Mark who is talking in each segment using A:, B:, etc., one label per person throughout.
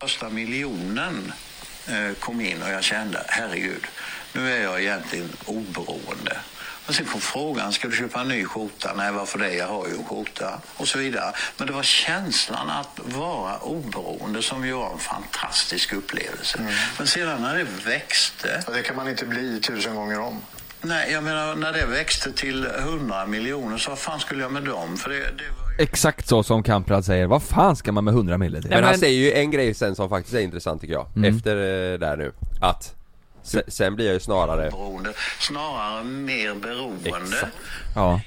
A: Första miljonen eh, kom in och jag kände, herregud, nu är jag egentligen oberoende. Och sen kom frågan, ska du köpa en ny skjorta? Nej, varför det? Jag har ju en skjorta. Och så vidare. Men det var känslan att vara oberoende som ju var en fantastisk upplevelse. Men sedan när det växte,
B: Ja, Det kan man inte bli tusen gånger om.
A: nej, jag menar när det växte till 100 miljoner, så vad fan skulle jag med dem? För det, det var ju...
C: Exakt så som Kamprad säger, vad fan ska man med 100 mille till?
D: Men
E: men-
D: han säger ju en grej sen som faktiskt är intressant tycker jag,
C: Mm.
D: efter eh, där nu, att
C: Typ-
D: se- sen blir jag ju snarare,
A: beroende, snarare mer beroende.
D: Exakt.
C: Ja,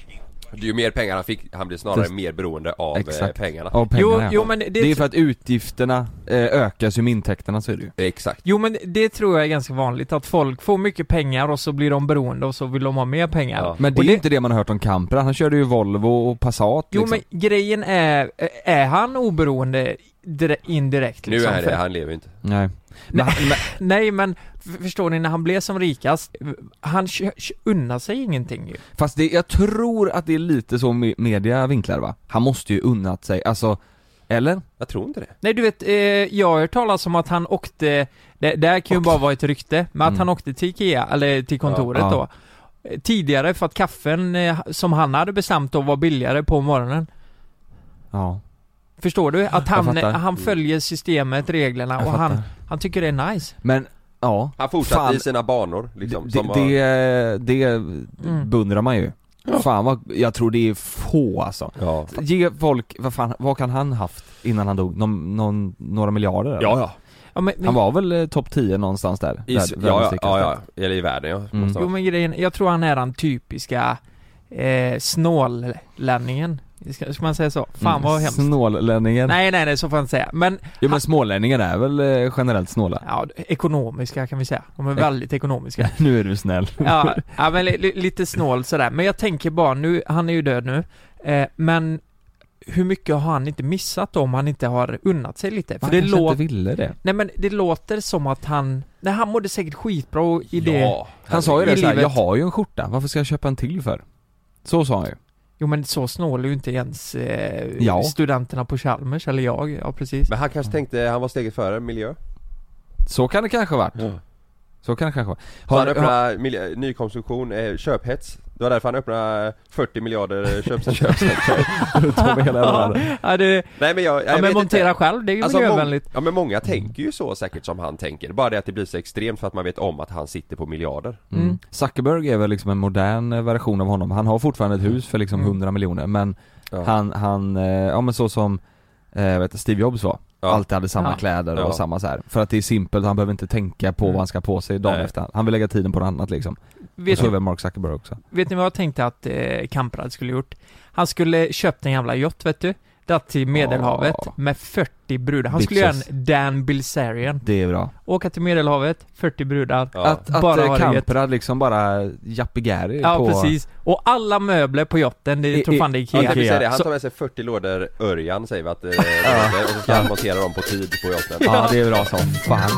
D: ju mer pengar han fick, han blir snarare
C: Just-
D: mer beroende av eh,
C: exakt.
D: pengarna.
C: Av pengarna
E: Jo,
C: ja.
E: jo, men det-
C: det är ju för att utgifterna eh, ökas ju med intäkterna så är det ju.
D: Exakt.
E: Jo men det tror jag är ganska vanligt, att folk får mycket pengar och så blir de beroende och så vill de ha mer pengar.
D: Ja.
C: Men det
E: Och
C: är ju inte det man har hört om Kamprad, han körde ju Volvo och Passat
E: Jo
C: liksom.
E: men grejen är, är han oberoende dire- indirekt
D: Nu
E: liksom?
D: är
E: För-
D: det, han lever ju inte.
C: Nej. Men,
E: Nej,
C: han- men,
E: Nej men, f- förstår ni, när han blev som rikast, han kö- kö- unnar sig ingenting ju.
C: fast det, jag tror att det är lite så me- media vinklar va? Han måste ju unnat sig, alltså, eller?
D: Jag tror inte det.
E: Nej du vet, eh, jag har hört talas om att han åkte, det, det här kan ju bara vara ett rykte, men att
C: Mm.
E: han åkte till Ikea, eller till kontoret
C: Ja.
E: då. Eh, Tidigare för att kaffen eh, som han hade bestämt då var billigare på morgonen.
C: Ja,
E: Förstår du? Att han,
C: fattar.
E: han följer systemet, reglerna
C: jag
E: och
C: fattar.
E: han, han tycker det är nice.
C: Men, ja.
D: Han fortsatte
C: Fan.
D: i sina banor liksom,
C: Det,
D: som var-
C: det, det beundrar man ju. Fan vad, jag tror det är få alltså.
D: Ja.
C: Ge folk, vad fan, vad kan han haft innan han dog? Någon, någon, några miljarder eller?
D: Ja, ja.
E: Ja, men, men,
C: Han var väl eh, topp 10 någonstans där?
D: I,
C: Värld-
D: ja,
C: världens
D: ja,
C: rikaste.
D: ja, ja, eller i världen ja.
C: Mm.
D: Måste
E: jo
D: vara.
E: men grejen, jag tror han är den typiska eh, snållänningen. Ska, ska man säga så? Fan
C: Mm,
E: vad hemskt.
C: Snållänningen.
E: Nej nej nej, så får man inte säga. Men
C: Jo men smålänningar är väl eh, generellt snåla?
E: Ja, ekonomiska kan vi säga. De är väldigt ekonomiska.
C: Nu är du snäll.
E: Ja, ja men li, li, lite snål sådär. Men jag tänker bara nu, han är ju död nu, eh, men hur mycket har han inte missat om han inte har unnat sig lite? För
C: Han
E: det,
C: kanske
E: lå-
C: inte ville det.
E: nej, men det låter som att han, nej han mådde säkert skitbra och i det.
D: Ja.
C: Han sa ju
E: i
C: det såhär,
E: livet.
C: jag har ju en skjorta, varför ska jag köpa en till för? Så sa han ju.
E: Jo men så snål är ju inte ens eh,
C: Ja.
E: studenterna på Chalmers, eller jag, ja precis.
D: Men han kanske tänkte, han var steget före miljö.
C: Så kan det kanske ha varit.
D: Ja.
C: Så kan det kanske ha varit.
D: Har,
C: Har,
D: han
C: har,
D: öppnade miljö, nykonsumtion, eh, köphets. Det var därför han öppnade 40 miljarder eh, köps köpsnäck.
C: runt om i hela världen.
E: Ja, det, ja,
D: Nej men jag, jag
E: men
D: vet
E: montera
D: inte.
E: själv, det är ju
D: Alltså, mång,
E: miljövänligt.
D: ja men många tänker ju så säkert som han tänker, bara det att det blir så extremt för att man vet om att han sitter på miljarder
C: Mm. Zuckerberg är väl liksom en modern eh, version av honom. Han har fortfarande ett hus för liksom
E: Mm.
C: 100 miljoner men
D: Ja.
C: han, han, eh, ja men så som eh, vet, du, Steve Jobs var.
D: Ja.
C: Alltid hade samma
E: Ja.
C: kläder och
D: Ja. Mm.
C: samma så här. För att det är simpelt, han behöver inte tänka på vad han ska ha på sig dagen
D: Nej.
C: efter. Han vill lägga tiden på något annat liksom. och
E: Vet
C: så
E: du
C: är väl Mark Zuckerberg också.
E: Vet ni vad jag tänkte att eh, Kamprad skulle gjort? Han skulle köpt en jävla yacht vet du? Dratt till medelhavet
C: Ja.
E: med 40 brudar. Han skulle göra
C: Bitches.
E: en Dan Bilzerian.
C: Det är bra.
E: Åka till medelhavet, 40 brudar. Ja,
D: Ja.
C: Att, att
E: Bara
C: bara
E: ha det gött.
C: Kamprad liksom bara jappigäri på...
E: precis. Och alla möbler på yachten, det
C: I-
E: tror fan
C: i-
E: det är
D: Ja,
E: Ikea.
D: det vill säga det. Han
E: Så-
D: tar med sig 40 lådor Örjan säger vi att eh, lådor, och så ska han montera dem på tid på yachten.
C: Ja det är bra som fan.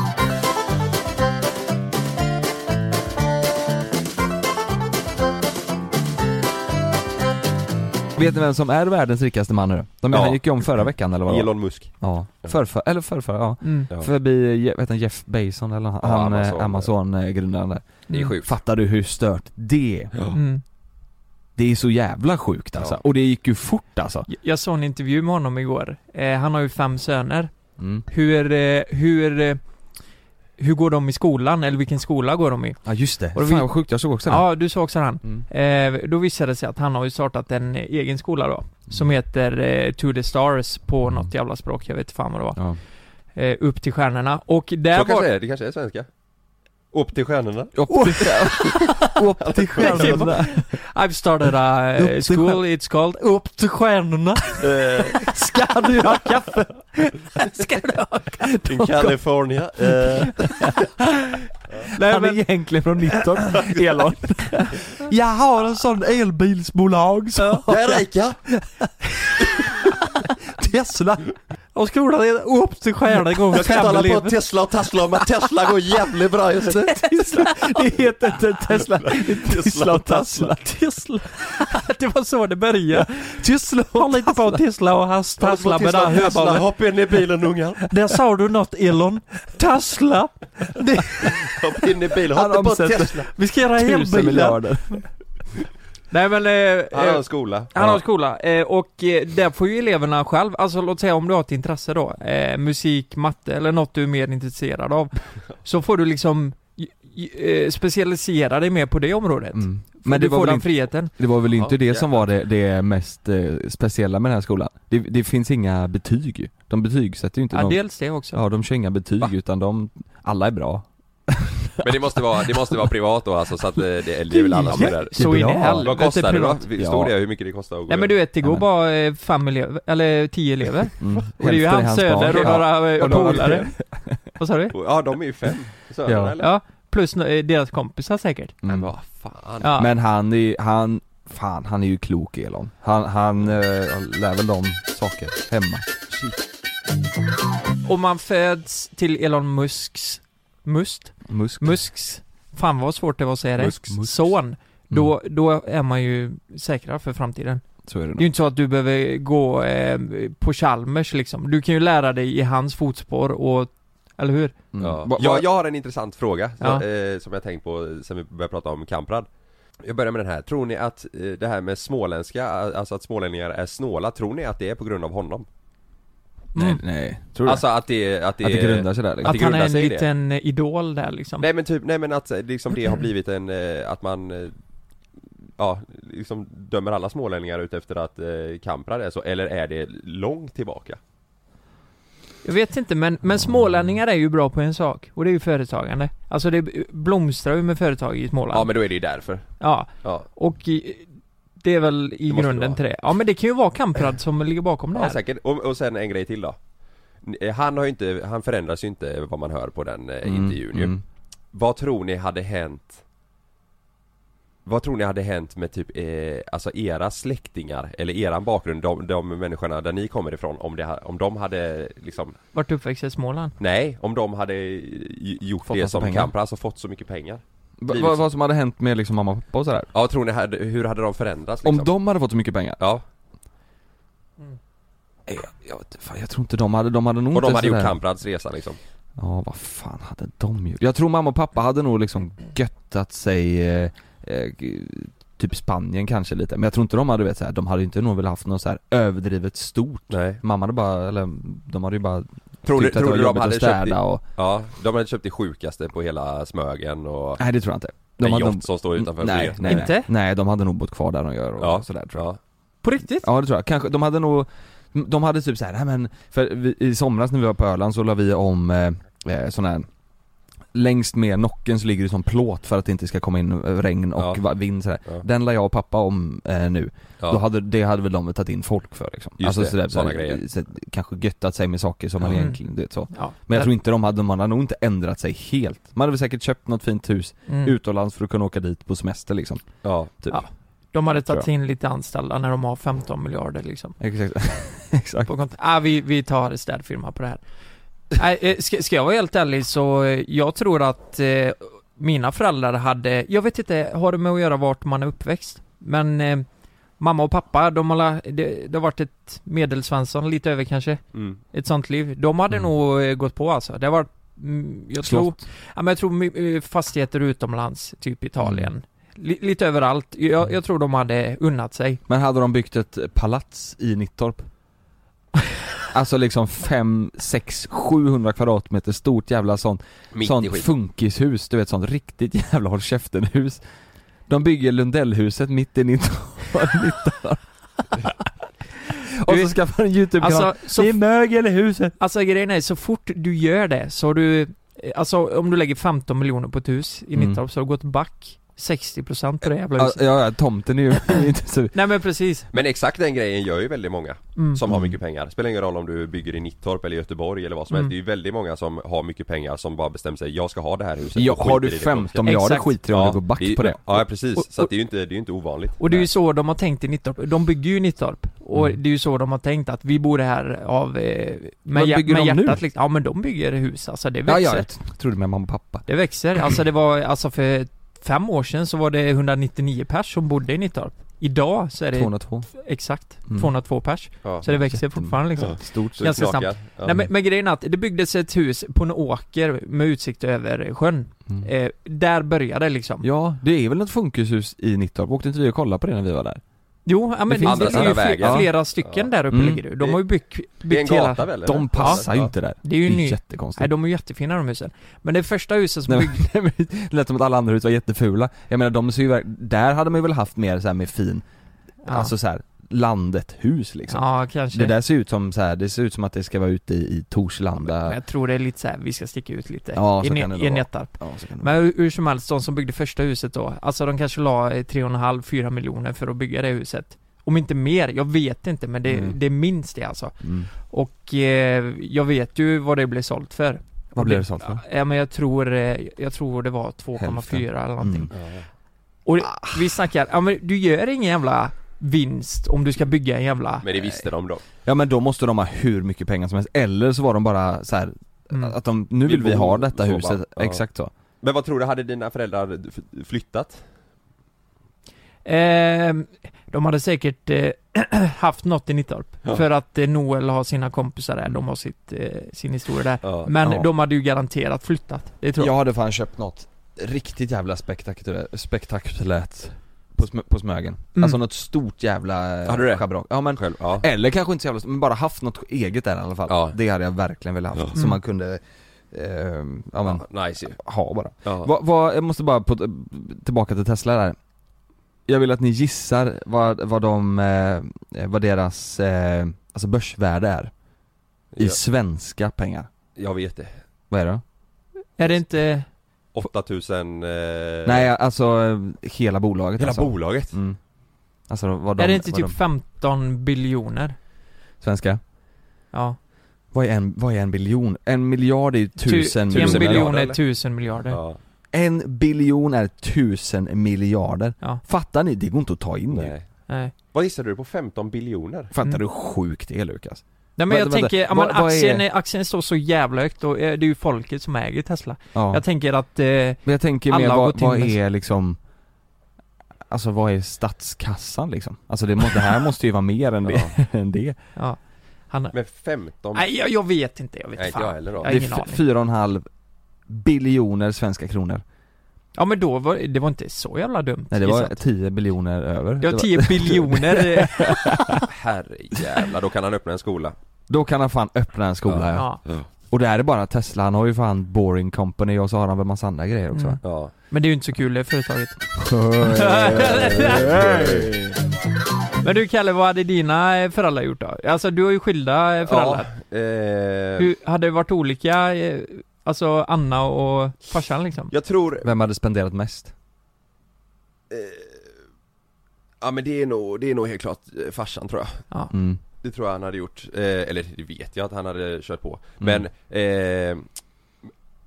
C: Vet ni vem som är världens rikaste man nu? De
D: Ja.
C: han gick ju om förra veckan eller vad det var?
D: Elon Musk.
C: Ja, förrför, eller förrför, ja.
E: Mm.
D: Ja.
C: Förbi, Je- vad heter han, Jeff Bezos eller han,
D: Ja,
C: han
D: Amazon.
C: Amazon, Amazon eh, grundaren där.
D: Det är sjukt.
C: Fattar du hur stört det är?
E: Mm.
C: Det är så jävla sjukt alltså. Och det gick ju fort alltså.
E: Jag- Jag såg en intervju med honom igår. Eh, han har ju fem söner.
C: Mm.
E: Hur, eh, hur, eh, hur går de i skolan? Eller vilken skola går de i?
C: Ja just det.
E: Och vi-
C: Fan vad sjukt, jag såg också det.
E: Ja, du såg också han.
C: Mm.
E: Eh, då visade det sig att han har ju startat en eh, egen skola då. Som heter eh, To the Stars på
C: Mm.
E: något jävla språk, jag vet inte fan vad det var.
C: Ja.
E: Eh, upp till stjärnorna. Och
D: Så
E: där
D: kanske
E: var...
D: det är, det kanske är svenska. Upp till stjärnorna.
C: Upp till Upp till stjärnorna.
E: I've started a
C: Upp
E: eh,
C: till
E: school, it's called Upp till stjärnorna.
D: Eh,
E: Ska du ha kaffe? Ska du ha
D: In California. Eh,
C: Han
E: Nej,
C: är
E: men,
C: egentligen från 19, Elon. Jag har en sån elbilsbolag som
D: jag är rika.
C: Tesla.
E: Och skolade upp till stjärnan igång
F: Jag kan inte hålla på och Tesla och Tesla men Tesla går jävligt bra just nu.
E: Tesla. Det heter inte Tesla. Det är Tesla och Tesla. Tesla. Det var så det började. Tesla Håll inte på och Tesla och hans Tesla med det här
F: Tesla,
E: hörbanden.
F: hoppa in i bilen ungar.
E: Där sa du något Elon. Tesla. Det,
F: Hoppa in i bilen,
C: Han
F: hoppa på
C: omsätter-
F: Tesla.
E: vi ska göra
C: Tusen
E: elbilar.
C: miljarder.
E: Nej men... eh,
D: Han
E: eh,
D: har en skola.
E: Han har en skola eh, och eh, där får ju eleverna själv, alltså låt säga om du har ett intresse då, eh, musik, matte eller något du är mer intresserad av, så får du liksom j- j- eh, specialisera dig mer på det området.
C: Mm.
E: Men
C: Men det
E: du får
C: var, väl
E: den
C: inte,
E: friheten.
C: det var väl inte
D: Ja,
C: det som var det, det mest eh, speciella med den här skolan? Det, det finns inga betyg. De betygsätter ju inte.
E: Ja,
C: de,
E: dels det också.
C: ja, de kör inga betyg utan de, alla är bra.
D: Men det måste vara, det måste vara privat då alltså så att eh, det, eller det är väl alla som är där.
E: Så in i
C: Ja.
D: Vad
E: helvete
D: kostar det då?
E: privat.
D: Vi- Stod
C: Ja.
D: det hur mycket det kostar att gå
E: Nej men
D: in?
E: du vet, det går
C: Amen.
E: bara eh, fem elever, eller tio elever.
C: Mm.
E: Och det är ju
C: Hälften
E: han
C: barn.
E: Söder
C: Ja.
E: och några eh,
D: Och några
E: polare. Vad sa du?
D: Ja de är ju fem, sönerna
C: Ja.
D: eller?
E: Ja, plus eh, deras kompisar säkert.
C: Mm.
D: Men vad fan.
E: Ja.
C: Men han är han, fan han är ju klok Elon. Han, han eh, lär väl dem saker hemma.
E: Och man föds till Elon Musks, Must?
C: Musk.
E: Musks, fan vad svårt det var att säga det,
C: Musks. Musks.
D: Mm.
E: son,
C: Mm.
E: då, då är man ju säkrare för framtiden.
C: Så är det
E: Det är ju
C: nog.
E: inte så att du behöver gå eh, på Chalmers liksom. Du kan ju lära dig i hans fotspår och, eller hur?
C: Mm.
D: Ja.
C: Va- va-
D: Jag, jag har en intressant fråga så,
E: Ja.
D: eh, som jag tänkt på sen vi började prata om Kamprad Jag börjar med den här, tror ni att eh, det här med småländska, a- alltså att smålänningar är snåla, tror ni att det är på grund av honom?
C: Nej,
E: Mm.
C: nej. Tror du
D: Alltså att det, att det,
C: Att det grundar sig där liksom.
D: det
E: Att han är
D: grundar
E: en
D: sig i det.
E: liten idol där liksom.
D: Nej men typ, nej men att eh, liksom det har blivit en, eh, att man eh, Ja, liksom dömer alla smålänningar ut efter att eh, Kamprad är så, eller är det långt tillbaka?
E: Jag vet inte men, men smålänningar är ju bra på en sak och det är ju företagande. Alltså det blomstrar ju med företag i Småland.
D: Ja men då är det ju därför
E: ja.
D: Ja,
E: och i, det är väl i
D: Det måste det
E: grunden
D: vara.
E: till det. Ja men det kan ju vara Kamprad som ligger bakom det
D: ja
E: här.
D: säkert, och, och sen en grej till då Eh, Han har ju inte, han förändras ju inte vad man hör på den eh,
C: Mm,
D: intervjun ju
C: mm.
D: Vad tror ni hade hänt? Vad tror ni hade hänt med typ, eh, alltså era släktingar eller eran bakgrund, de, de människorna där ni kommer ifrån om, det, ha- om de hade liksom
E: Vart uppväxt i Småland.
D: Nej, om de hade i- gjort
C: Fått
D: det
C: massa
D: som
C: pengar.
D: Kamprad, alltså fått så mycket pengar
C: Va-
D: Livet.
C: va- vad som hade hänt med liksom mamma och pappa och sådär?
D: Ja, tror ni, hade, hur hade de förändrats liksom?
C: Om de hade fått så mycket pengar?
D: Ja,
C: Nej, Jag, jag, vet- fan, jag tror inte de hade, de hade nog
D: och de
C: inte
D: hade gjort
C: sådär-
D: Kamprads resa liksom
C: Ja, vad fan hade de gjort? Jag tror mamma och pappa hade nog liksom göttat sig eh, eh, g- Typ Spanien kanske lite, men jag tror inte de hade vet såhär, de hade inte nog väl haft något såhär överdrivet stort
D: Nej
C: Mamma hade bara, eller de hade ju bara
D: Tror du,
C: tyckt att
D: tror
C: det
D: du
C: var jobbigt
D: de
C: att
D: hade
C: städa
D: köpt det,
C: och
D: Ja, de hade köpt det sjukaste på hela Smögen och
C: Nej det tror jag inte
D: en
C: hade nog-
D: yacht som står utanför
C: nej,
D: Fred.
C: nej,
E: Inte?
C: nej, nej, de hade nog bott kvar där de gör och
D: Ja.
C: sådär tror jag
D: Ja,
E: På riktigt?
C: Ja det tror jag, kanske, de hade nog De hade typ såhär, nej men För vi, i somras när vi var på Öland så la vi om eh, eh, sån här Längst med nocken så ligger det som plåt för att det inte ska komma in eh, regn och
D: Ja.
C: va- vind sådär.
D: Ja.
C: Den la jag och pappa om eh, nu.
D: ja.
C: Då hade, det hade väl de tagit in folk för liksom.
D: Just det, såna
C: såhär,
D: grejer.
C: Så, kanske göttat sig med saker som man
E: Ja.
C: egentligen, du vet så.
E: Mm. Ja.
C: Men jag tror inte de hade, de hade nog inte ändrat sig helt. Man hade väl säkert köpt något fint hus
E: Mm.
C: utomlands för att kunna åka dit på semester liksom.
D: ja.
C: Typ.
E: Ja. De hade tagit
C: Tror
E: in lite anställda när de har 15 miljarder liksom.
C: Exakt. Exakt.
E: På kont- ah, vi, vi tar städfirma på det här. Nej, eh, ska, ska jag vara helt ärlig så eh, jag tror att eh, mina föräldrar hade, jag vet inte, har det med att göra vart man är uppväxt? Men eh, mamma och pappa, de har, la- det, det har varit ett medelsvensson lite över kanske,
D: Mm.
E: ett sånt liv. De hade
C: Mm.
E: nog eh, gått på alltså. Det har varit, mm, jag tror,
C: Slott.
E: ja, men jag tror my- eh, fastigheter utomlands, typ
C: Mm.
E: Italien. Li- lite överallt. Jag, jag tror de hade unnat sig.
C: Men hade de byggt ett palats i Nittorp? Alltså liksom 5, 6, 700 kvadratmeter stort jävla sånt,
D: Mitt i
C: sånt
D: skit.
C: funkishus, du vet sånt riktigt jävla håll käften-hus De bygger Lundellhuset mitt i Nittorp Nittorp. Och så skaffar de en YouTube-kanal
E: Alltså, så
C: mögel i huset!
E: Alltså grejen är, så fort du gör det så har du eh, Alltså om du lägger 15 miljoner på ett hus i
C: Mm.
E: Nittorp så har du gått back 60% på det jävla
C: Ja,
E: huset.
C: ja, tomten är ju inte så...
E: Nej men precis.
D: Men exakt den grejen gör ju väldigt många
E: Mm.
D: som har
C: Mm.
D: mycket pengar. Spelar ingen roll om du bygger i Nittorp eller Göteborg eller vad som
E: Mm.
D: helst. Det är ju väldigt många som har mycket pengar som bara bestämmer sig, jag ska ha det här huset.
C: Ja,
D: och skiter
C: har du
D: i det
C: 15
D: ekonomiska.
C: miljarder
E: Exakt.
C: skiter i om du går back
D: är ju-
C: på det
D: Ja precis, så
E: Och-
D: att det är ju inte, det är ju inte ovanligt.
E: Och det är ju så de har tänkt i Nittorp. De bygger ju Nittorp. Och
C: Mm.
E: det är ju så de har tänkt att vi bor här av... eh, Med,
C: Vad
E: hjär-
C: bygger
E: med
C: de nu?
E: hjärtat liksom. Ja men de bygger hus alltså, det växer.
C: Ja, jag vet. trodde med mamma och pappa.
E: Det växer. Alltså det var, alltså för fem år sedan så var det 199 pers som bodde i Nittorp. Idag så är det
C: 202.
E: exakt
C: Mm.
E: 202 pers.
D: Ja.
E: Så det växer fortfarande liksom.
D: Ja.
C: Stort.
D: Så
E: ganska
D: det knakar. Ja.
E: Nej men, men grejen är att det byggdes ett hus på en åker med utsikt över sjön.
C: Mm.
E: Eh, där började det liksom.
C: Ja, det är väl ett funkishus i Nittorp? Åkte inte vi och kollade på det när vi var där?
E: Jo, ja, men det,
C: finns
E: det
D: andra
E: är ju
D: sidan
E: flera,
D: vägen.
E: flera stycken
D: Ja.
E: där uppe
C: Mm.
E: ligger du. De har ju byggt,
D: det är en
E: byggt hela...
D: gata väl? eller?
C: De passar ju
D: Ja.
C: inte där.
E: Det är ju ny... Nej,
C: jättekonstigt.
E: de är ju jättefina de husen. Men det första huset som
C: Nej,
E: byggdes...
C: men det lät som att alla andra hus var jättefula. Jag menar de ser ju verk- där hade man ju väl haft mer så här med fin,
E: Ja.
C: alltså så här landet hus liksom.
E: ja, kanske.
C: det där ser ut som så här, det ser ut som att det ska vara ute i, i
E: Men
C: Torslanda.
E: jag tror det är lite så här, vi ska sticka ut lite.
C: Ja, så
E: I,
C: kan det
E: ne-
C: nog
E: i
C: vara.
E: Nättarp.
C: Ja, så kan det vara.
E: Men hur, hur som helst, de som byggde första huset då, alltså de kanske la eh, 3,5-4 miljoner för att bygga det huset. Om inte mer, jag vet inte men det,
C: Mm.
E: det är minst det alltså.
C: Mm.
E: Och eh, jag vet ju vad det blev sålt för.
C: Vad blev det sånt för?
E: Ja men jag tror, eh, jag tror det var 2,4 eller någonting.
C: Mm. Ah.
D: Ja.
E: Och det- vi snackar, ja men du gör ingen jävla vinst om du ska bygga en jävla...
D: Men det visste de då.
C: Ja men då måste de ha hur mycket pengar som helst, eller så var de bara så här,
E: Mm.
C: att de, nu
D: Vi
C: vill vi
D: bor
C: ha detta
D: så
C: huset,
D: bara. Ja.
C: exakt så.
D: Men vad tror du, hade dina föräldrar f- flyttat?
E: Ehm, de hade säkert eh, haft något i Nittorp.
D: Ja.
E: För att eh, Noel har sina kompisar där, de har sitt, eh, sin historia där.
D: Ja.
E: Men
C: Ja.
E: de hade ju garanterat flyttat, det tror jag.
C: Jag hade fan köpt något riktigt jävla spektakulärt, spektakulärt på, sm- på Smögen.
E: Mm.
C: Alltså något stort jävla
D: Hade du det?
C: schabrak. Ja men
D: Själv, ja.
C: Eller kanske inte så jävla men bara haft något eget där i alla fall.
D: Ja.
C: Det hade jag verkligen velat haft,
D: Ja.
C: som
E: Mm.
C: man kunde, eh, ja men,
D: Ja, nice ju.
C: ha bara.
D: Ja.
C: Vad, vad, jag måste bara på, tillbaka till Tesla där. Jag vill att ni gissar vad, vad de, eh, vad deras, eh, alltså börsvärde är. I
D: Ja,
C: svenska pengar.
D: jag vet det.
C: Vad är det?
E: Är det inte...
D: 8000... Eh,
C: Nej alltså, eh, hela bolaget
D: hela
C: alltså.
D: bolaget.
C: mm. Alltså vad de,
E: är det inte
C: vad
E: typ
C: de,
E: 15 biljoner?
C: svenska?
E: Ja.
C: Vad är en, vad är en biljon? En miljard är ju tusen
E: tu- en
D: miljarder,
E: biljon är
D: eller?
E: tusen miljarder.
D: Ja.
C: En biljon är tusen miljarder.
E: Ja.
C: Fattar ni? Det går inte att ta in nu.
D: Nej.
E: Nej.
D: Vad gissade du på? 15 biljoner?
C: Fattar
E: Mm.
C: du hur sjukt det är Lukas?
E: Nej men jag
C: Vänta, vänta.
E: tänker, ja,
C: Vad-
E: men
C: vad är-
E: aktien, är... aktien står så jävla högt och eh, det är ju folket som äger Tesla.
C: Ja.
E: Jag tänker att, eh,
C: Men jag tänker
E: alla
C: mer,
E: har
C: vad,
E: gått in
C: vad
E: med-
C: är liksom Alltså vad är statskassan liksom? Alltså det, må, det här måste ju vara mer än det, än det.
E: ja. Han...
D: Men 15...
E: Nej jag, jag vet inte, jag vet
D: Nej,
E: inte
D: inte
E: fan.
D: jag heller då.
E: Jag har
C: det
E: ingen
C: är
E: aning.
C: f- fyra och en halv biljoner svenska kronor.
E: Ja men då var det var inte så jävla dumt
C: Nej det var
E: gissat.
C: 10 biljoner över.
E: Det
C: Det
E: var
C: var-
E: 10 biljoner eh,
D: Herrejävlar, då kan han öppna en skola.
C: Då kan han fan öppna en skola ja.
E: ja.
C: Och det här är bara Tesla, han har ju fan Boring Company och så har han väl massa andra grejer också
E: Mm.
C: va?
D: Ja.
E: Men det är ju inte så kul det företaget Men du Kalle, vad hade dina eh, föräldrar gjort då? Alltså du har ju skilda eh, föräldrar
D: Ja, eh,
E: Hur, Hade det varit olika, eh, alltså Anna och farsan liksom?
D: Jag tror...
C: Vem hade spenderat mest?
D: Eh, ja men det är nog, det är nog helt klart eh, farsan tror jag.
E: Ja,
C: Mm.
D: Det tror jag han hade gjort, eh, eller det vet jag att han hade kört på.
C: Mm.
D: Men eh,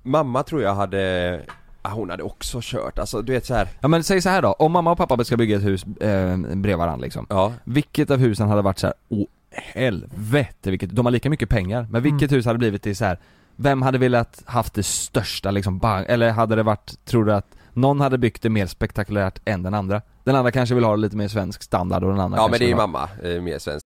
D: mamma tror jag hade, ah, hon hade också kört, alltså du vet så här.
C: Ja men säg så här då, om mamma och pappa ska bygga ett hus eh, bredvid varandra liksom
D: Ja,
C: Vilket av husen hade varit så här, åh helvete vilket, de har lika mycket pengar,
D: Mm.
C: men vilket hus hade blivit det så här. Vem hade velat haft det största liksom, bang, eller hade det varit, tror du att någon hade byggt det mer spektakulärt än den andra? Den andra kanske vill ha lite mer svensk standard och den andra
D: ja
C: kanske
D: men det är
C: vill
D: ju
C: ha-
D: mamma, eh, mer svensk.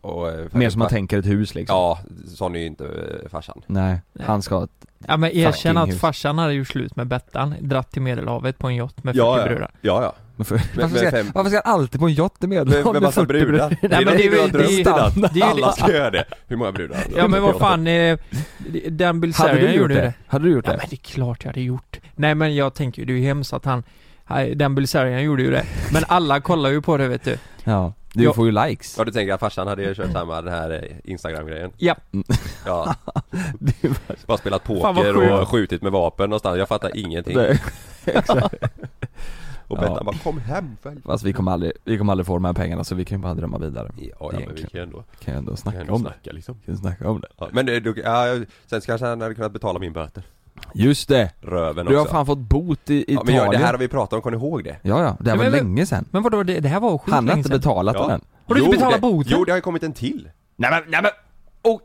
D: Och, eh,
C: Mer som man tänker ett hus liksom
D: Ja, sån är ju inte eh, farsan
C: Nej,
E: Nej.
C: han ska ha ett-
E: Ja men erkänn
C: Fucking
E: att
C: hus.
E: farsan hade gjort slut med Bettan, dratt till medelhavet på en yacht med 40 brudar
D: ja, ja.
C: varför, ska,
D: fem-
C: varför ska han alltid på en yacht med
D: Med, med massa brudar? Det
E: Nej, men
D: är någonting
E: det är
D: du har
E: väl- det är ju-
D: drömt om.
E: det är ju-
D: Alla ska göra det. Hur många brudar?
E: Ja men vad fan, eh, den Bill
C: Hade du gjort
E: gjorde
C: det?
E: ju det
C: Hade du gjort
E: Ja
C: det?
E: men det är klart jag hade gjort. Nej men jag tänker ju, det är ju hemskt att han, nej, den Bilzerian gjorde ju det. Men alla kollar ju på det vet du.
C: Ja, du
E: Ja.
C: får ju likes
D: Ja du tänker att farsan hade ju kört samma den här eh, Instagram-grejen?
E: Ja.
D: Ja. Bara spelat
E: Fan, vad
D: poker
E: sjukt.
D: och skjutit med vapen någonstans, jag fattar ingenting.
C: Nej, exakt.
D: Och
C: Ja.
D: Bettan bara 'Kom hem själv'
C: Fast vi kommer aldrig, vi kommer aldrig få de här pengarna så vi kan ju bara drömma vidare
D: Ja, ja men vi
C: Egentligen.
D: kan ju ändå,
C: Kan ju ändå
D: vi kan ju
C: snacka
D: ändå
C: om det,
D: snacka liksom
C: kan ju snacka om det
D: ja, Men eh, du, ja, sen kanske han hade kunnat betala min böter
C: Just det!
D: Röven
C: Du har
D: också
C: fan fått bot i
D: Ja men
C: Italien
D: jag, det här har vi pratat om, kommer du ihåg det?
C: Ja, ja, det här var
E: men-
C: länge sen
E: Men vadå, det, det här var sjukt
C: Han har
E: länge
C: inte
E: sedan.
C: betalat
D: Ja.
C: den än
E: Har du inte
D: Jo,
E: betalat
D: det-
E: boten?
D: Jo det har ju kommit en till!
C: Nej men, nej men! Oh,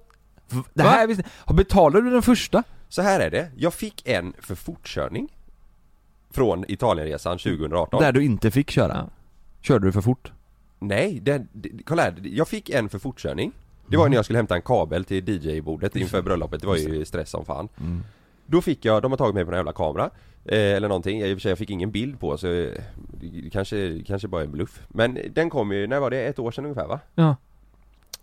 C: v- det
E: Va?
C: här visste Betalade du den första?
D: Så här är det, jag fick en för fortkörning Från Italienresan 2018
C: Där du inte fick köra?
E: Ja.
C: Körde du för fort?
D: Nej, den, d- kolla här, jag fick en för fortkörning Det var ju när jag skulle hämta en kabel till DJ-bordet inför bröllopet, det var ju stress som fan Då fick jag, de har tagit mig på en jävla kamera eh, Eller någonting, jag, i och för sig jag fick ingen bild på så eh, det kanske, kanske bara är en bluff Men den kom ju, när var det? Ett år sedan ungefär va?
E: Ja.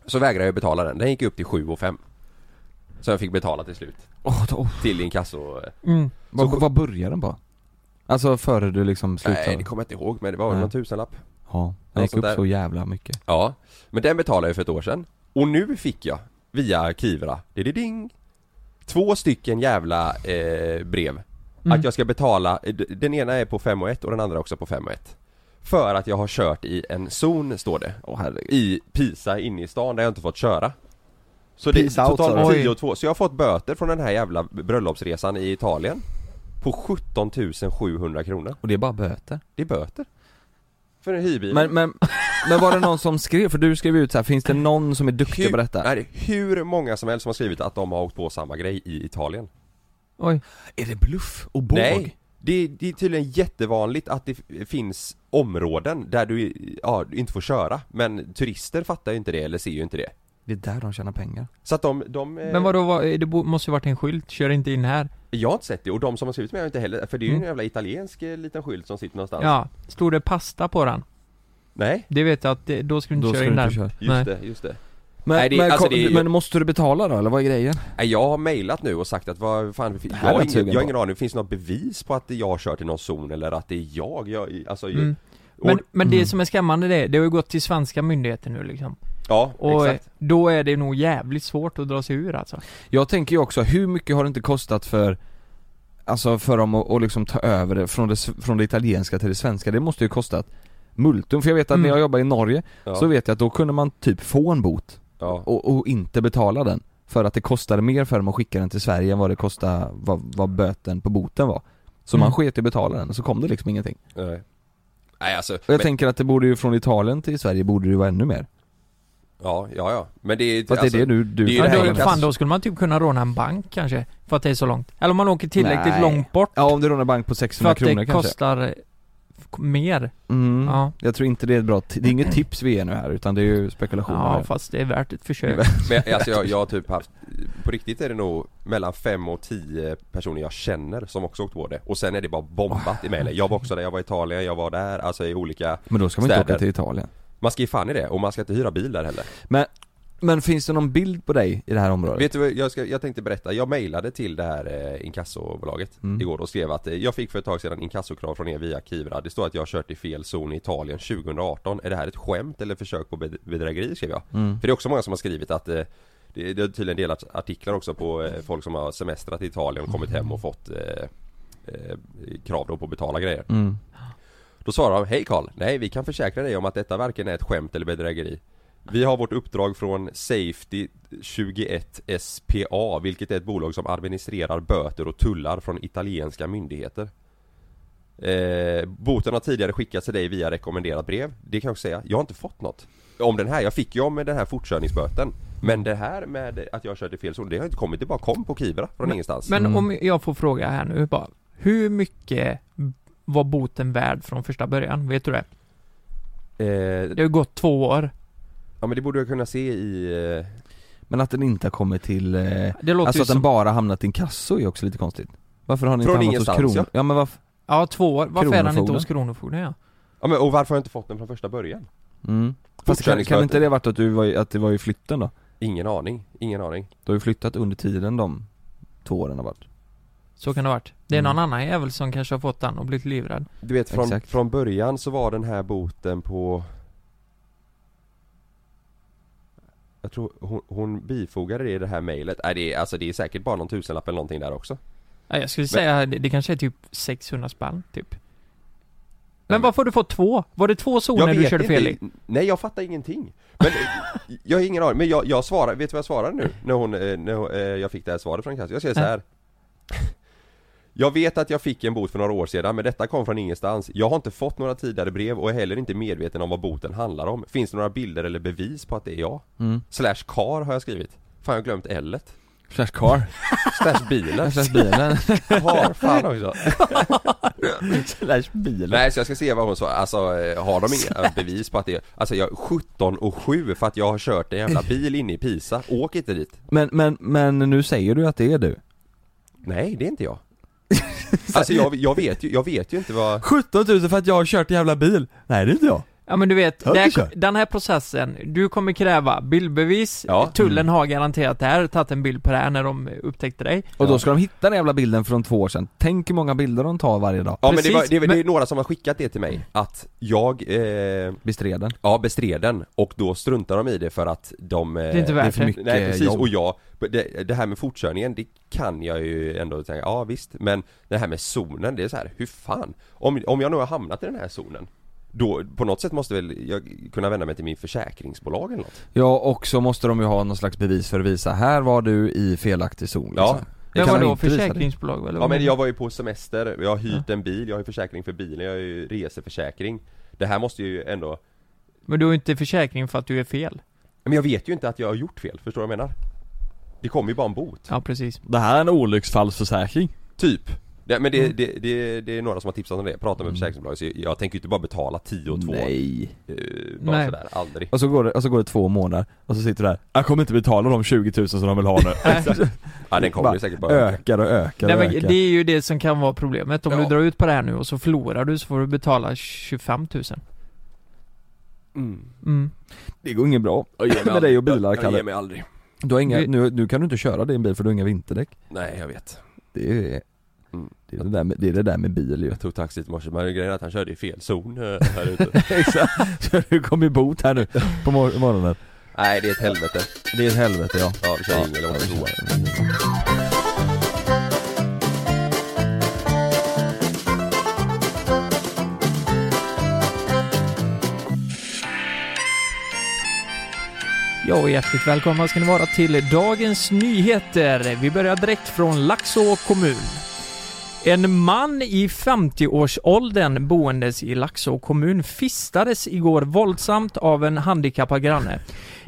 D: Så vägrade jag betala den, den gick upp till 7 och 5 Så jag fick betala till slut,
C: Åh, då- åh.
D: till inkasso
E: Mm.
C: Vad, vad började den på? Alltså före du liksom slutade?
D: Nej det kommer jag inte ihåg men det var
C: Nej.
D: någon tusenlapp
C: Ja, den
D: Ja,
C: gick
D: sånt
C: upp
D: där.
C: så jävla mycket
D: Ja, men den betalade jag för ett år sedan Och nu fick jag, via Kivra, ding, Två stycken jävla eh, brev Att jag ska betala, eh, d- den ena är på 5 och 1 och den andra också på 5 och 1 För att jag har kört i en zon, står det
C: Åh herregud
D: I Pisa, inne i stan, där jag inte fått köra Så det är
F: Pisa out, sa
D: totalt
F: du?
D: 10 och 2, så jag har fått böter från den här jävla bröllopsresan i Italien På 17 700 kronor,
C: Och det är bara böter
D: det är böter För en hyrbil
C: Men, men, men var det någon som skrev, för du skrev ut så här, finns det någon som är duktig på detta?
D: Nej, det är hur många som helst som har skrivit att de har åkt på samma grej i Italien.
E: Oj.
C: Är det bluff och båg?
D: Nej, det, det är tydligen jättevanligt att det f- finns områden där du ja, du inte får köra. Men turister fattar ju inte det eller ser ju inte det.
C: Det är där de tjänar pengar
D: Så att de, de eh,
E: Men vadå, vad, det bo- måste ju varit en skylt, kör inte in här.
D: jag har inte sett det och de som har skrivit med har inte heller, för det är ju
E: Mm.
D: en jävla italiensk eh, liten skylt som sitter
C: Alltså.
D: någonstans.
E: Ja, stod det pasta på den?
D: Nej,
E: Det vet jag att, det, då ska du inte
C: Då
E: köra
C: ska
E: in
C: du
E: där.
C: inte köra
D: just
E: Nej.
D: det, just det.
C: men,
D: Nej, det-
C: men,
D: alltså,
C: kom-
D: det är ju-
C: men måste du betala då eller vad är grejen?
D: Nej, Jag har mejlat nu och sagt att vad fan, jag
C: här är
D: har
C: jag
D: ingen,
C: sugen
D: jag har
C: på.
D: ingen aning, finns det något bevis på att jag har kört i någon zon eller att det är jag? jag alltså,
E: Mm.
D: och,
E: Men, men det
C: Mm.
E: som är skrämmande det är, det har ju gått till svenska myndigheter nu liksom.
D: ja,
E: Och
D: exakt.
E: eh, då är det nog jävligt svårt att dra sig ur alltså.
C: Jag tänker ju också, hur mycket har det inte kostat för Alltså för dem att, att liksom ta över det från, det s- från det italienska till det svenska, det måste ju kostat multum, för jag vet att
E: Mm.
C: när jag jobbade i Norge
D: Ja.
C: så vet jag att då kunde man typ få en bot
D: Ja.
C: och, och inte betala den För att det kostade mer för dem att skicka den till Sverige än vad det kostade, vad, vad böten på boten var Så
E: Mm.
C: man sket i att betala den och så kom det liksom ingenting
D: Nej. Nej alltså,
C: Och jag
D: men,
C: tänker att det borde ju från Italien till Sverige borde det ju vara ännu mer
D: ja, ja, ja. Men det är
C: För att
D: alltså,
C: det är det du, du
D: det är ju
E: Ja,
D: det här
E: då,
D: med
E: fan
D: kass-
E: då skulle man typ kunna råna en bank kanske, för att det är så långt. Eller om man åker tillräckligt
C: Nej.
E: långt bort
C: Ja om du rånar bank på
E: för
C: 600
E: att det
C: kronor kanske
E: kostar eh, f- mer.
C: mm.
E: Ja.
C: Jag tror inte det är ett bra, ti- det är inget tips vi ger nu här utan det är ju spekulationer
E: Ja,
C: här.
E: fast det är värt ett försök.
D: men, alltså, jag, jag har typ haft, på riktigt är det nog mellan fem och tio personer jag känner som också åkt på det. Och sen är det bara bombat i mejlen. Jag var också där, jag var i Italien, jag var där, alltså i olika,
C: Men då ska man inte
D: Städer.
C: åka till Italien
D: man ska ju fan i det och man ska inte hyra bil där heller.
C: Men, men finns det någon bild på dig i det här området?
D: Vet du vad, jag, ska, jag tänkte berätta, jag mejlade till det här eh, inkassobolaget
C: Mm.
D: igår och skrev att eh, jag fick för ett tag sedan inkassokrav från er via Kivra. Det står att jag har kört i fel zon i Italien 2018. Är det här ett skämt eller försök på bed- bedrägeri skrev jag.
C: Mm.
D: För det är också många som har skrivit att eh, det, det har tydligen delats artiklar också på eh, folk som har semestrat i Italien och kommit hem och fått eh, eh, krav då på att betala grejer.
C: Mm.
D: Då svarar de Hej Karl, nej vi kan försäkra dig om att detta varken är ett skämt eller bedrägeri Vi har vårt uppdrag från Safety 21 SPA vilket är ett bolag som administrerar böter och tullar från italienska myndigheter eh, Boten har tidigare skickats till dig via rekommenderat brev Det kan jag också säga, jag har inte fått något Om den här, jag fick ju om den här fortkörningsböten Men det här med att jag körde fel zon, det har inte kommit, det bara kom på Kivra från ingenstans
E: Men
C: Mm.
E: om jag får fråga här nu bara. Hur mycket var boten värd från första början? Vet du det?
D: eh,
E: Det har ju gått två år.
D: Ja men det borde jag kunna se i... eh,
C: Men att den inte har kommit till, eh,
E: Det låter
C: alltså
E: ju
C: att den
E: som,
C: bara hamnat i inkasso är också lite konstigt Varför har den
D: Från
C: inte hamnat hos
D: ingenstans,
C: kron? Ja men varför?
E: ja två år, varför är den inte
C: Kronofogden?
E: hos Kronofogden ja?
D: Ja men och varför har jag inte fått den från första början?
C: Mm. Fast kan, kan inte det varit att, du var, i- att det var i flytten då?
D: Ingen aning, ingen aning.
C: Du har ju flyttat under tiden de två åren har varit
E: Så kan det ha varit. Det är
C: Mm.
E: någon annan jävel som kanske har fått den och blivit livrädd.
D: Du vet från,
C: Exakt.
D: från början så var den här boten på Jag tror hon, hon bifogade det i det här mejlet. Nej det är, alltså det är säkert bara någon tusenlapp eller någonting där också.
E: Ja, jag skulle säga det, det kanske är typ 600 spänn typ. Men
D: men-
E: varför har du fått två? Var det två zoner du körde fel i?
D: Nej jag fattar ingenting. Men eh, jag har ingen aning. Men jag, jag svarar, vet du vad jag svarade nu? När hon, eh, när hon, eh, jag fick det här svaret från Cassie. Jag säger så här. Jag vet att jag fick en bot för några år sedan men detta kom från ingenstans. Jag har inte fått några tidigare brev och är heller inte medveten om vad boten handlar om. Finns det några bilder eller bevis på att det är jag?
C: mm.
D: Slash kar har jag skrivit. Fan jag har glömt L-et.
C: Slash car,
D: Slash bilen.
C: slash bilen
D: Har fan också.
C: Slash bilen
D: Nej så jag ska se vad hon sa, alltså eh, har de inga bevis på att det är, alltså jag 17 och 7 för att jag har kört en jävla bil inne i Pisa, åk inte dit
C: Men, men, men nu säger du att det är du
D: Nej det är inte jag Alltså jag, jag vet ju, jag vet ju inte vad
C: 17 000 för att jag har kört en jävla bil! Nej det är inte jag!
E: Ja men du vet,
C: Har
E: det
C: du
E: här,
C: kört?
E: den här processen, du kommer kräva bildbevis,
D: Ja.
E: tullen har garanterat det här, tagit en bild på det här när de upptäckte dig.
C: Och då ska de hitta den jävla bilden från två år sedan, tänk hur många bilder de tar varje dag
D: Ja men det, var,
E: Precis,
D: det, är- det är
E: men-
D: några som har skickat det till mig, att jag, eh,
C: Bestred den?
D: ja bestred den och då struntar de i det för att de eh,
E: Det är inte
C: Det
E: värt
C: är
E: det.
C: för mycket
D: Nej precis,
C: jobb
D: och jag, det, det här med fortkörningen, det kan jag ju ändå tänka, ja visst, men det här med zonen, det är så här, hur fan? Om, om jag nu har hamnat i den här zonen, då på något sätt måste väl jag kunna vända mig till min försäkringsbolag eller något?
C: Ja och så måste de ju ha någon slags bevis för att visa, här var du i felaktig zon liksom.
D: Ja.
E: Men
C: kan de
E: vadå,
C: inte visa det.
E: försäkringsbolag eller
D: Ja
E: vad
D: men
E: menar
D: jag var ju på semester, jag har hyrt en bil, jag har ju försäkring för bilen, jag har ju reseförsäkring Det här måste ju ändå,
E: du? Men du har ju inte försäkring för att du är fel.
D: men jag vet ju inte att jag har gjort fel, förstår du vad jag menar? Det kommer ju bara en bot
E: Ja precis.
C: Det här är en olycksfallsförsäkring
D: Typ Nej men det, det, det, det är några som har tipsat om det, prata med försäkringsbolaget så jag tänker ju inte bara betala 10 och 2
C: Mm. Nej
D: Eh, bara
E: Nej.
D: sådär, aldrig
C: och så, går det, och så går det två månader, och så sitter du där Jag kommer inte betala de 20 000 som de vill ha nu
D: Ja den kommer ju
C: Bara
D: säkert bara öka
C: Ökar och ökar
E: Nej,
C: och
E: men
C: ökar
E: det är ju det som kan vara problemet, om
D: Ja.
E: du drar ut på det här nu och så förlorar du så får du betala 25 000. Mm.
C: Det går inget bra med dig och bilar
D: Jag ger
C: Kalle
D: mig aldrig
C: du har inga,
E: Vi-
C: nu, nu kan du inte köra din bil för du har inga vinterdäck
D: Nej jag vet
C: Det är
D: Mm.
C: det, är det, där, med, det, är det där med bil ju
D: Jag tog taxi till morse, men grejen är att han körde i fel zon eh, här ute
C: Så du kommer i bot här nu på mor- morgonen
D: Nej det är ett helvete
C: Det är ett helvete ja
D: Ja vi kör ja, eller vad det är.
E: Ja, och hjärtligt välkomna ska ni vara till Dagens Nyheter. Vi börjar direkt från Laxå kommun. En man i 50-årsåldern boendes i Laxå kommun fistades igår våldsamt av en handikappad granne.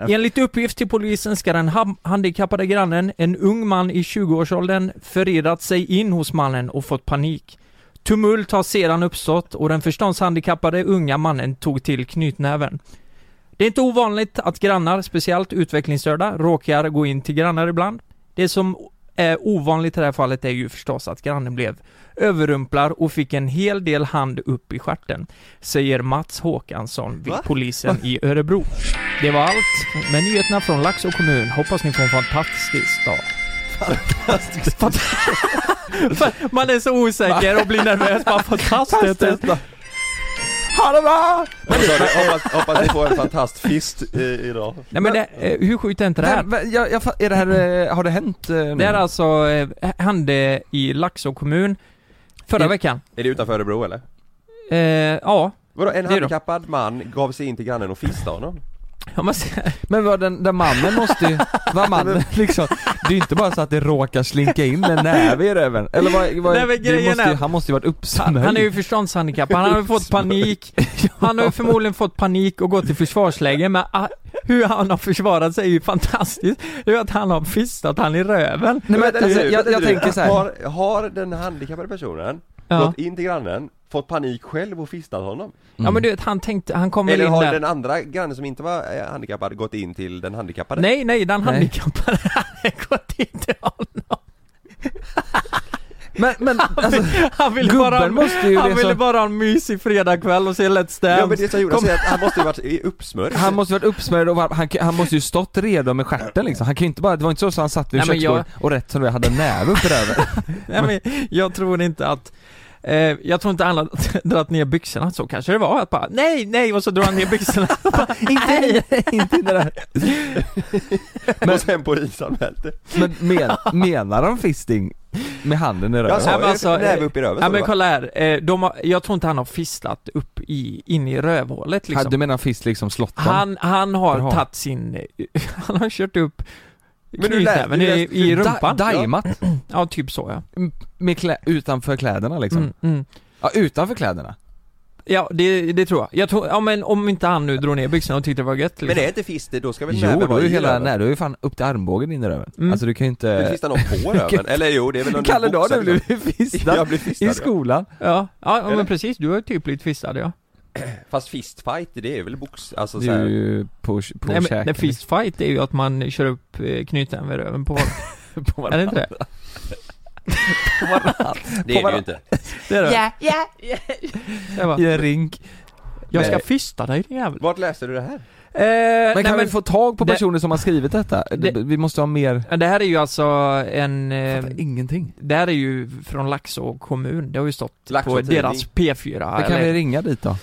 E: Enligt uppgift till polisen ska den ham- handikappade grannen, en ung man i 20-årsåldern, förirrat sig in hos mannen och fått panik. Tumult har sedan uppstått och den förståndshandikappade unga mannen tog till knytnäven. Det är inte ovanligt att grannar, speciellt utvecklingsstörda, råkar gå in till grannar ibland. Det som är ovanligt i det här fallet är ju förstås att grannen blev överrumplar och fick en hel del hand upp i stjärten, säger Mats Håkansson vid polisen i Örebro. Det var allt med nyheterna från Laxå kommun. Hoppas ni får en fantastisk dag. Fantastisk. Man är så osäker och blir nervös. Bara fantastiskt. Ha det bra!
D: Vad sa du? Hoppas, hoppas ni får en fantastfist eh, idag
E: Nej men det, eh, hur sjukt är inte det här?
C: Men, men, jag, jag, fa- är det här, eh, har det hänt eh, nu?
E: Det här alltså eh, hände i Laxå kommun förra
D: I-
E: veckan.
D: Är det utanför Örebro eller?
E: Eh, ja,
D: Vadå en
E: då.
D: handikappad man gav sig in till grannen och fistade honom?
E: jag måste,
C: Men vad den, den mannen måste ju, vad mannen liksom, det är ju inte bara så att det råkar slinka in en näve i röven, eller vad, vad
E: Nej, men
C: det
E: grejen
C: måste ju,
E: är-
C: han måste ju varit
E: han,
C: uppsnöjd
E: han är ju förståndshandikappad, han har ju fått panik. Han har ju förmodligen fått panik och gått i försvarsläge men ah, hur han har försvarat sig är ju fantastiskt. Det är ju att han har fistat han i röven.
C: Nej men
D: Vänta
C: alltså,
D: nu,
C: jag,
D: vänta
C: jag
D: nu.
C: tänker så här.
D: Har, har den handikappade personen
E: Ja.
D: gått in till grannen, fått panik själv och fistnat honom.
E: ja men du vet, han tänkte, han kommer in
D: Eller har
E: där
D: den andra grannen som inte var eh, handikappad gått in till den handikappade?
E: Nej, nej, den
C: Nej.
E: handikappade hade gått in till honom.
C: Men, men alltså,
E: Han ville
C: gubben
E: bara, ha-
C: måste ju
E: han
C: det
E: ville
C: som,
E: bara ha en mysig fredagkväll och se Let's Dance.
D: Ja men det som Jonas säger, att han måste ju varit i- uppsmörd.
C: han måste ju varit uppsmörjd och varm, han, kan- han måste ju stått redo med stjärten liksom. Han kan ju inte bara, det var inte så att han satt vid
E: Nej, men
C: köksbordet och rätt som det var hade en näve upp i röven.
E: Nej, men jag tror inte att eh, jag tror inte han har dragit ner byxorna så kanske det var att bara nej, nej och så drar han ner byxorna.
C: inte, inte in i det där.
D: Och sen polisanmält det.
C: Men men, menar de fisting med handen i röven?
D: Jag sa ju
E: alltså,
C: eh,
D: näve upp i röven
E: ja
D: så det
E: men
D: var.
E: kolla här, eh, de har, jag tror inte han har fisslat upp i, in i rövhålet liksom.
C: Hade- Du menar fist liksom slott dem?
E: Han, han har
C: Jaha.
E: tagit sin, han har kört upp
D: Men du lät-
E: knytnäven
D: du
E: i,
D: lät-
E: i rumpan.
C: Da, daimat,
E: ja, typ så ja.
C: med klä, utanför kläderna liksom?
E: Mm, mm.
C: Ja, utanför kläderna?
E: Ja, det, det tror jag. Jag tror, ja men om inte han nu drog ner byxorna och tyckte det var gött
D: Men
E: liksom.
D: är inte fister, då ska väl
C: Jo,
D: näven
C: då är
D: vara
C: ju
D: i
C: hela,
D: röven?
C: nej, då är ju fan upp till armbågen in i röven.
E: Mm.
C: Alltså du kan ju
D: Vill
C: inte...
D: fista någon på röven? Eller jo, det är väl om
C: Kalle, då har
D: boxar
C: du blivit
D: liksom.
C: fistad
D: Jag blir
C: i
D: fistad ja.
C: skolan.
E: Ja, ja, ja
D: Eller?
E: men precis, du har ju typ blivit fistad ja.
D: Fast fistfight, det är väl box, alltså
C: Det är
D: såhär
C: ju på, på
E: Nej, men,
C: käken.
E: nej, fistfight är ju att man kör upp eh, knytnäven vid röven på
C: på
E: Är det inte det?
D: Det är det ju inte
E: Det är det.
G: Yeah, yeah.
E: Jag, bara,
C: I en rink.
E: jag ska
D: Nej.
E: fista dig din jävel.
D: Vart läste du det här?
E: Eh,
C: Men
E: nej,
C: kan
E: men,
C: vi få tag på
E: det-
C: personer som har skrivit detta?
E: Det-
C: vi måste ha mer... ehm,
E: det här är ju alltså en... Eh,
C: Fattar ingenting.
E: det här är ju från Laxå kommun, det har ju stått
D: Laxå
E: på
D: tidning.
E: deras P4
C: Men kan
E: eller-
C: vi ringa dit då?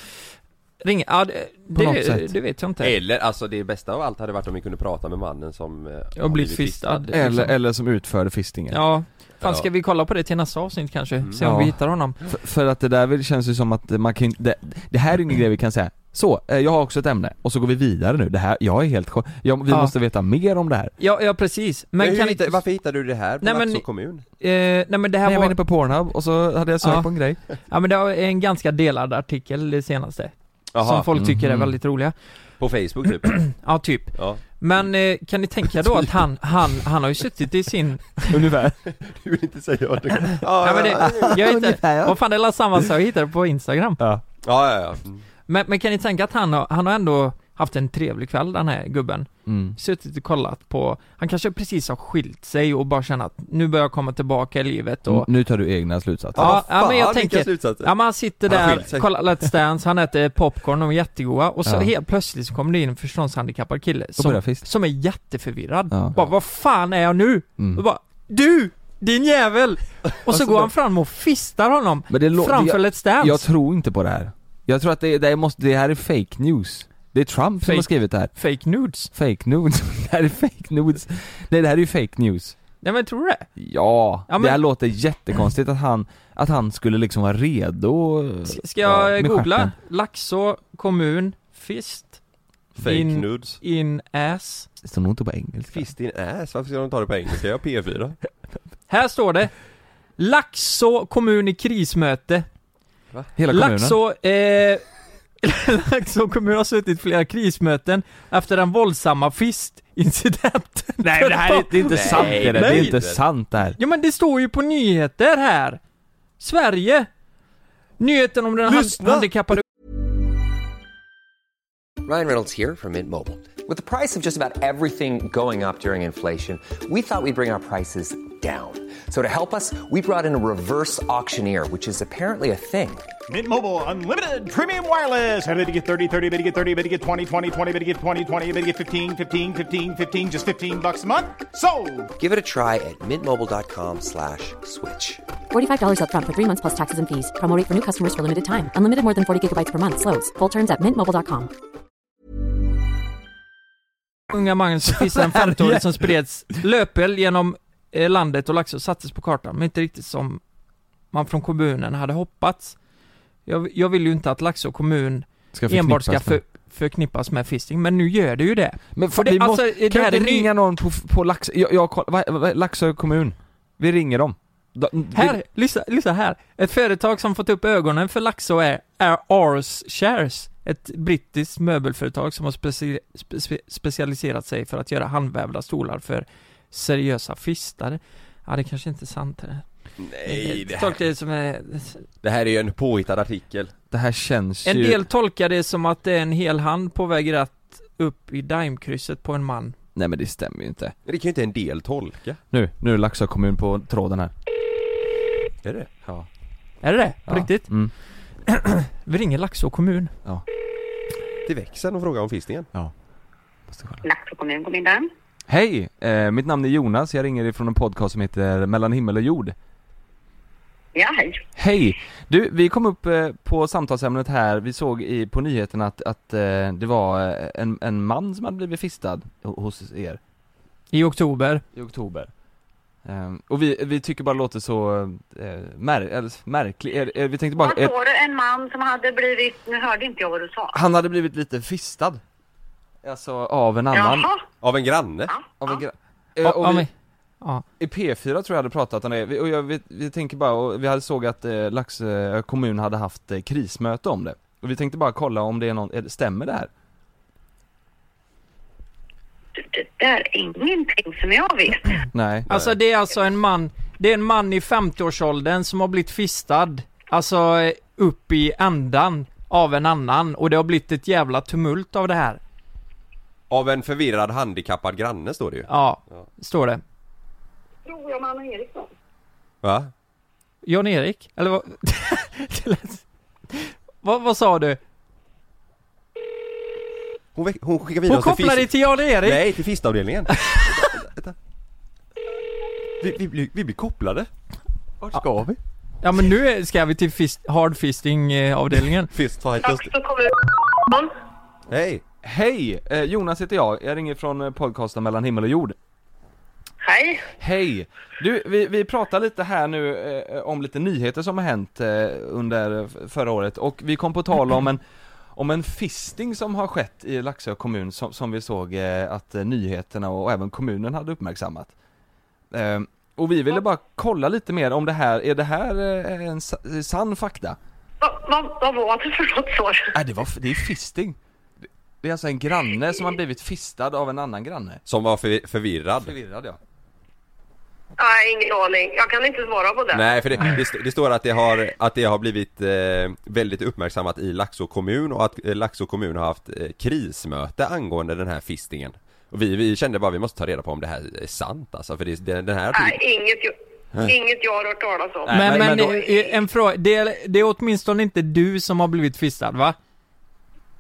E: ring, ja, det,
C: något
E: det,
C: sätt.
E: det vet jag inte.
D: Eller, alltså det bästa av allt hade varit om vi kunde prata med mannen som eh,
E: Jag har blivit fistad.
C: Eller,
E: liksom.
C: eller som utförde fistingen.
E: Ja, fan
D: Ja.
E: ska vi kolla på det till nästa avsnitt kanske? Se om
C: Mm. Ja.
E: vi hittar honom.
C: För, för att det där väl känns ju som att man kan ju inte- det, det här är ingen grej vi kan säga Så, eh, jag har också ett ämne och så går vi vidare nu, det här, jag är helt chock- jag, Vi
E: Ja.
C: måste veta mer om det här
E: Ja, ja precis. Men,
D: Men, hur
E: kan
D: hitta,
E: inte...
D: varför hittade du det här på
E: Nej, men-
D: Laxå kommun?
E: Eh, nej men det här
C: Nej, Jag var
E: var...
C: inne på Pornhub och så hade jag sökt
E: Ja.
C: på en grej
E: Ja men det var en ganska delad artikel det senaste. Som folk tycker är
C: Mhm.
E: väldigt roliga.
D: på Facebook typ?
E: Ja, typ.
D: ja.
E: Men eh, kan ni tänka då att han, han, han har ju suttit i sin...
C: Ungefär
D: Du vill inte säga vad du ja,
E: Nej men
D: ja,
E: det, jag vet inte.
C: Ungefär, ja.
E: Vad fan det är samma sak jag hittade på Instagram.
C: ja.
D: ja, ja, ja.
E: Men, men kan ni tänka att han har, han har ändå haft en trevlig kväll den här gubben.
C: Mm.
E: Suttit och kollat på, han kanske precis har skilt sig och bara känner att nu börjar jag komma tillbaka i livet och...
C: Nu tar du egna slutsatser
E: Ja, ja, men jag
D: vilka
E: tänker-
D: slutsatser?
E: Ja men han sitter
D: Han har
E: där,
D: skilt sig.
E: kollar Let's Dance, han äter popcorn, de är jättegoda och så
C: Ja.
E: helt plötsligt så kommer det in en förståndshandikappad kille
C: börjar
E: som,
C: fist.
E: som är jätteförvirrad.
C: Ja.
E: Bara, vad fan är jag nu? Och
C: mm.
E: bara, du! Din jävel! Och så
C: så
E: går
C: då-
E: han fram och fistar honom
C: Men det lå-
E: framför
C: jag,
E: Let's Dance.
C: jag tror inte på det här Jag tror att det, det, måste, det här är fake news Det är Trump som
E: Fake-
C: har skrivit det här
E: Fake nudes.
C: Fake news, det här är fake news Nej det här är ju fake news
E: Nej men tror du det?
C: Ja,
E: Ja, men-
C: det här låter jättekonstigt att han, att han skulle liksom vara redo
E: S- Ska jag
C: Ja, med
E: googla?
C: stjärten.
E: Laxå kommun, fist,
D: Fake
E: in-
D: nudes
E: in ass.
C: Det står nog inte på engelska
D: Fist in ass, varför ska de ta det på engelska? Jag har P4
E: Här står det. Laxå kommun i krismöte.
C: Hela kommunen?
E: Laxå, eh, Laxå kommun har suttit flera krismöten efter den våldsamma fistincidenten.
C: Nej det här är, det är inte
D: Nej,
C: sant det där, det
D: nej.
C: är inte sant det här
E: Ja men det står ju på nyheter här! Sverige! Nyheten om den hand-
D: Lyssna!
E: handikappade
H: Ryan Reynolds here from Mint Mobile. With the price of just about everything going up during inflation, we thought we'd bring our prices down. So to help us, we brought in a reverse auctioneer, which is apparently a thing.
I: Mint Mobile unlimited premium wireless. Ready to get 30, 30, bit to get 30, bit to get 20, 20, 20, bit to get 20, 20, bit to get 15, 15, 15, 15 just 15 bucks a month. So,
H: Give it a try at mintmobile.com slash switch.
J: $45 up front for three months plus taxes and fees. Promo rate for new customers for limited time. Unlimited more than 40 gigabytes per month. Slows. Full terms at mintmobile.com.
E: unga man som visade en 15-åring som spreds löpeld genom eh, landet och Laxå sattes på kartan, men inte riktigt som man från kommunen hade hoppats. Jag, jag vill ju inte att Laxå kommun
C: ska
E: enbart ska
C: förknippas med.
E: för, förknippas med fisting, men nu gör det ju det.
C: Men
E: För
C: fan,
E: det,
C: vi måste,
E: alltså, det
C: kan
E: här
C: vi
E: är
C: inte
E: ny...
C: ringa någon på, på Laxå, jag, jag koll- vad- vad- Laxå kommun? Vi ringer dem De-
E: Här, lyssna, lyssna här. Ett företag som fått upp ögonen för Laxå är, är Ars Shares. Ett brittiskt möbelföretag som har speci spe specialiserat sig för att göra handvävda stolar för seriösa fistare. Ja, det kanske inte är sant det.
D: Nej, det
E: Eh,
D: här,
E: Tolkar det som en...
D: det här är ju en påhittad artikel
C: Det här känns
E: En
C: ju...
E: del tolkar det som att det är en hel hand på väg rätt upp i daimkrysset på en man.
C: Nej men det stämmer ju inte.
D: Men det kan ju inte en del tolka
C: Nu, nu är Laxå kommun på tråden här.
D: Är det?
C: Ja.
E: Är det det? På
C: Ja.
E: riktigt?
C: Mm.
E: Vi ringer Laxå kommun.
D: Till växeln och frågar om fistingen
C: Måste kolla.
K: Laxå kommun, god middag.
C: Hej! Eh, mitt namn är Jonas, jag ringer ifrån en podcast som heter Mellan himmel och jord.
K: Ja, hej.
C: Hej! Du, vi kom upp eh, på samtalsämnet här, vi såg i, på nyheterna att, att eh, det var eh, en, en man som hade blivit fistad ho- hos er
E: I oktober.
C: i oktober. Ehm, och vi, vi tycker bara det låter så eh, mär, eller, märkligt, Er- er- eh, vi tänkte bara...
K: Vad
C: er-
K: sa du? En man som hade blivit... Nu hörde inte jag vad du sa.
C: han hade blivit lite fistad. Alltså av en annan.
K: Jaha,
D: Av en granne?
C: Av en gra-
E: Ja,
C: Eh, och
E: ja,
C: vi-
E: men-
C: I P4 tror jag hade pratat om det, vi, och jag, vi, vi tänker bara, och vi hade såg att eh, Laxö kommun hade haft eh, krismöte om det Och vi tänkte bara kolla om det är någon, är det- stämmer det här?
K: det, det där är ingenting som jag vet.
C: Nej
E: Alltså det är alltså en man, det är en man i 50-årsåldern som har blivit fistad, alltså eh, upp i ändan av en annan och det har blivit ett jävla tumult av det här.
D: Av en förvirrad handikappad granne står det ju
E: Ja, står det.
K: Tror jag man Eriksson.
D: Va?
E: Jan-Erik? Eller vad? Det lät- vad, vad sa du?
D: Hon, väck- hon skickar vidare
E: Hon
D: oss till
E: kopplar dig
D: fist...
E: till Jan-Erik?
D: Nej, till fistavdelningen Vänta. vi, vi, blir, vi blir kopplade Vart ska vi?
E: Ja men nu är- ska vi till fist, hard fisting eh, avdelningen.
D: Fistfighters
K: Laxå kommun.
D: Hej!
C: Hej! Eh, Jonas heter jag, jag ringer från eh, podcasten mellan himmel och jord
K: Hej.
C: Hej! Du, vi, vi pratar lite här nu eh, om lite nyheter som har hänt eh, under f- förra året och vi kom på tal om en om en fisting som har skett i Laxå kommun som, som vi såg eh, att eh, nyheterna och, och även kommunen hade uppmärksammat. Eh, och vi ville bara kolla lite mer om det här, är det här eh, en sa- sann fakta?
K: Vad vad- vad var det för något så?
C: Nej Äh, det var, f- det är fisting! Det- Det är alltså en granne som har blivit fistad av en annan granne.
D: Som var för, förvirrad
C: Förvirrad ja.
K: Nej, ingen aning. Jag kan inte svara på det.
D: Nej för det, det, st- det står att det har, att det har blivit eh, väldigt uppmärksammat i Laxå kommun och att eh, Laxå kommun har haft eh, krismöte angående den här fistingen och vi, vi kände bara vi måste ta reda på om det här är sant alltså för det, det, den här
K: Nej, inget, jag- inget jag har hört talas om.
C: Nej,
E: Men,
C: men- men
E: men,
C: då-
E: eh, en fråga, det är, det är åtminstone inte du som har blivit fistad va?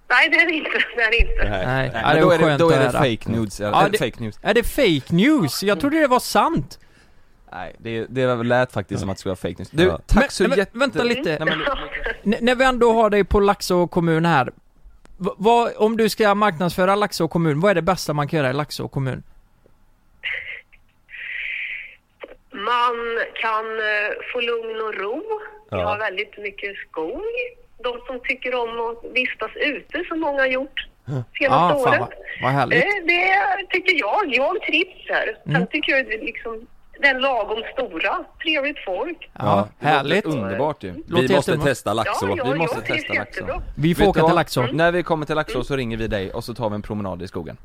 K: Nej, det är det inte. Det är det inte.
D: Nej.
E: Nej, ja,
C: Men
E: det
C: då
E: var
C: är Äh, det,
E: skönt
C: då är det
E: att höra.
C: fake news, ja,
E: Ja,
C: det...
E: det-
C: fake news.
E: Är det fake news? Jag trodde det var sant.
C: Nej, det, det lät faktiskt som att det skulle vara fake news. Du,
D: Ja.
C: tack
E: Men-
C: så
E: nej, men
C: jätte...
E: vänta
C: Nej,
E: lite.
C: men,
E: N- när vi ändå har dig på Laxå kommun här. v- Vad, om du ska marknadsföra Laxå kommun, vad är det bästa man kan göra i Laxå kommun?
K: Man kan eh, få lugn och ro. Vi har väldigt mycket skog. De som tycker om att vistas ute, som många har gjort senaste
E: Ah, fan,
K: året.
E: vad- vad härligt.
K: Det, det tycker jag. Jag trivs här.
C: Mm.
K: Sen tycker jag det är liksom den lagom stora. Trevligt folk.
E: Ja,
C: det låter
E: härligt.
C: Underbart ju.
E: Låter
D: Vi måste
E: jättebra.
D: testa Laxå
K: ja, jag,
C: vi måste
K: jag trivs
C: testa Laxå.
K: jättebra.
E: Vi får
C: Vet du
E: åka till
C: vad?
E: Laxå.
C: När vi kommer till Laxå så ringer vi dig och så tar vi en promenad i skogen.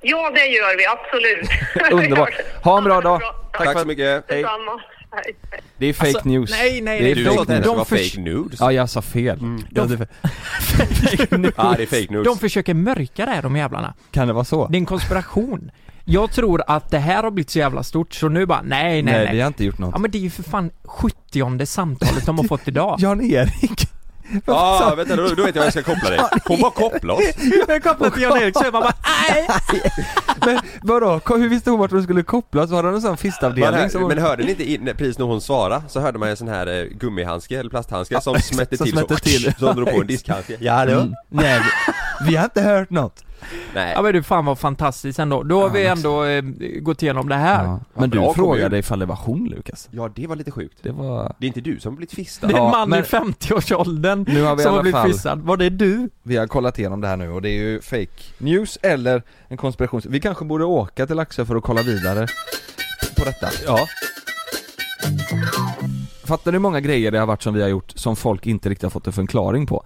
K: Ja, det gör vi. Absolut.
C: Underbart. Ha en bra dag.
D: Tack så mycket!
C: Hej.
K: Detsamma. Hej.
C: Det är fake
E: Alltså,
C: news.
E: nej, nej,
C: det
E: nej.
C: är
D: Du
C: fake
D: sa att det här
C: news.
D: skulle
E: De
D: vara
E: förs- Mm.
D: fake news
C: Ja, jag sa fel. Ja, det,
D: Ja Ah, det är fake news
E: De försöker mörka det här de jävlarna.
C: kan det vara så?
E: Det är en konspiration. Jag tror att det här har blivit så jävla stort så nu bara nej, nej, nej.
C: vi har inte gjort något.
E: Ja men det är ju för fan 70 samtalet de har fått idag.
C: Jan-Erik!
D: Ja, ah, vänta då, då vet jag vad jag ska koppla dig. Hon bara kopplar oss.
E: Jag kopplar till Jan-Erik så jag bara nej.
C: Men vadå, Ko- hur visste hon vart hon skulle kopplas? Var det någon sån
D: Man
C: fistavdelning
D: hör,
C: som...
D: men hörde ni inte in, när- precis när hon svarade så hörde man en sån här eh, gummihandske eller plasthandske som
C: exakt,
D: smätte
C: som
D: till så,
C: smätte till.
D: så hon drog på
C: Ja,
D: en
C: exakt.
D: diskhandske. Ja, hallå?
C: Mm. Nej, vi, vi har inte hört något.
D: Nej.
E: Ja men du fan vad fantastiskt ändå. Då har vi ändå eh, gått igenom det här.
C: Ja, men du
D: Bra
C: frågade
D: kommun.
C: ifall det var hon, Lukas.
D: Ja, det var lite sjukt.
C: Det var...
D: Det är inte du som har blivit fistad.
E: Det är
C: Ja,
E: en man
C: men-
E: i 50-årsåldern
C: Nu har vi i
E: som
C: alla
E: har blivit
C: fall-
E: fissad. Var det du?
C: Vi har kollat igenom det här nu och det är ju fake news eller en konspiration. Vi kanske borde åka till Laxå för att kolla vidare på detta. Ja. Fattar du hur många grejer det har varit som vi har gjort som folk inte riktigt har fått en förklaring på?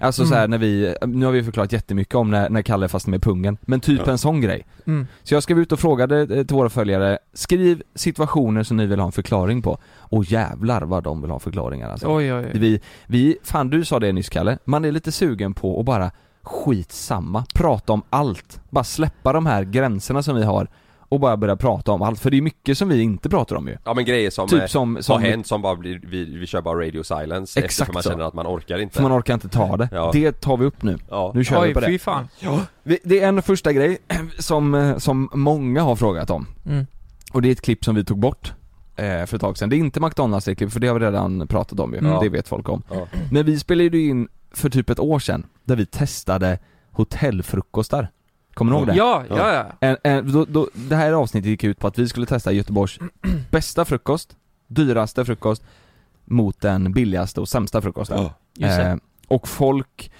C: Alltså så här när vi, nu har vi förklarat jättemycket om när, när Kalle fastnar med pungen, men typ
E: Ja.
C: en sån grej.
E: Mm.
C: Så jag skrev ut och frågade eh, till våra följare, skriv situationer som ni vill ha en förklaring på. Och jävlar vad de vill ha förklaringar alltså.
E: Oj, oj, oj.
C: Vi, vi, fan du sa det nyss Kalle, man är lite sugen på att bara skitsamma, prata om allt. Bara släppa de här gränserna som vi har och bara börja prata om allt. För det är mycket som vi inte pratar om ju.
D: Ja men grejer som,
C: Typ
D: eh,
C: som-
D: har
C: som-
D: hänt som bara blir, vi, vi kör bara radio silence
C: Exakt
D: eftersom man
C: så.
D: känner att man orkar inte
C: För man orkar inte ta det.
D: Ja.
C: Det tar vi upp nu.
D: Ja.
C: Nu kör
E: Oj,
C: vi på det.
E: fy fan.
C: Ja. Vi- Det är en första grej som, eh, som många har frågat om.
E: Mm.
C: Och det är ett klipp som vi tog bort eh, för ett tag sedan. Det är inte McDonalds klipp för det har vi redan pratat om ju.
E: Mm.
C: Det vet folk om.
D: Ja.
C: Men vi spelade ju in för typ ett år sedan där vi testade hotellfrukostar. Kommer ni ihåg det?
E: Ja, ja, ja.
C: En, en, då, då, det här avsnittet gick ut på att vi skulle testa Göteborgs bästa frukost, dyraste frukost mot den billigaste och sämsta frukosten.
E: Just det.
C: Eh, och folk,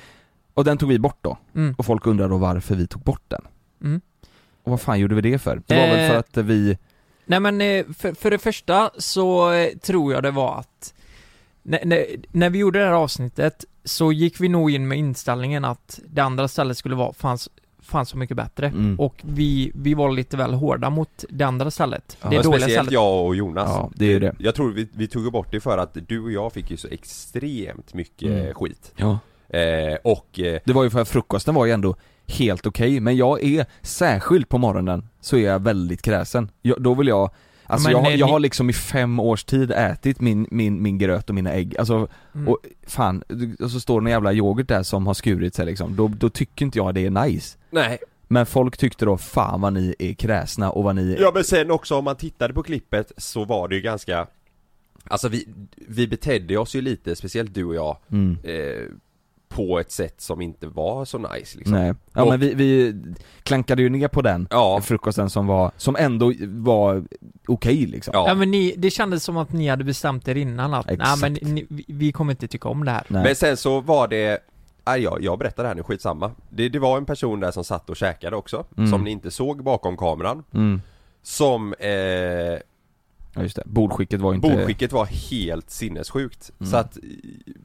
C: och den tog vi bort då.
E: Mm.
C: Och folk undrar då varför vi tog bort den.
E: Mm.
C: Och vad fan gjorde vi det för? Det var väl för
E: Eh.
C: att vi,
E: Nej men eh, för, för det första så eh, tror jag det var att när, när, när vi gjorde det här avsnittet så gick vi nog in med inställningen att det andra stället skulle vara fanns, fanns så mycket bättre
C: Mm.
E: och vi, vi var lite väl hårda mot det andra stället.
C: Ja.
E: Det
D: Men
E: dåliga
D: speciellt
E: stället.
D: jag och Jonas
E: alltså,
C: ja det är ju det.
D: Jag tror vi, vi tog ju bort det för att du och jag fick ju så extremt mycket
C: Mm.
D: eh, skit
C: Ja.
D: eh, Och eh,
C: Det var ju för att frukosten var ju ändå helt okej, men jag är, särskilt på morgonen, så är jag väldigt kräsen. Jag, då vill jag, alltså
E: Men,
C: jag, har-
E: eh,
C: jag
E: ni-
C: har liksom i fem års tid ätit min, min, min gröt och mina ägg, alltså
E: Mm.
C: och fan, och så står det en jävla yoghurt där som har skurit sig liksom, då, då tycker inte jag det är nice.
D: Nej
C: Men folk tyckte då, fan vad ni är kräsna och vad ni är...
D: Ja men sen också om man tittade på klippet så var det ju ganska Alltså vi, vi betedde oss ju lite, speciellt du och jag
C: Mm.
D: eh, På ett sätt som inte var så nice liksom
C: Nej. Ja
D: Och-
C: men vi, vi klankade ju ner på den
D: Ja.
C: frukosten som var, som ändå var okej liksom.
E: Ja.
D: Ja, men,
E: men ni, det kändes som att ni hade bestämt er innan att nej
C: Exakt.
E: men ni, vi- vi kommer inte tycka om det här.
C: Nej.
D: sen så var det Nej, jag, jag berättar det här nu, skitsamma det, det var en person där som satt och käkade också
C: Mm.
D: Som ni inte såg bakom kameran
C: Mm.
D: Som eh,
C: Ja just det, bordskicket var inte...
D: Bordskicket var helt sinnessjukt Så att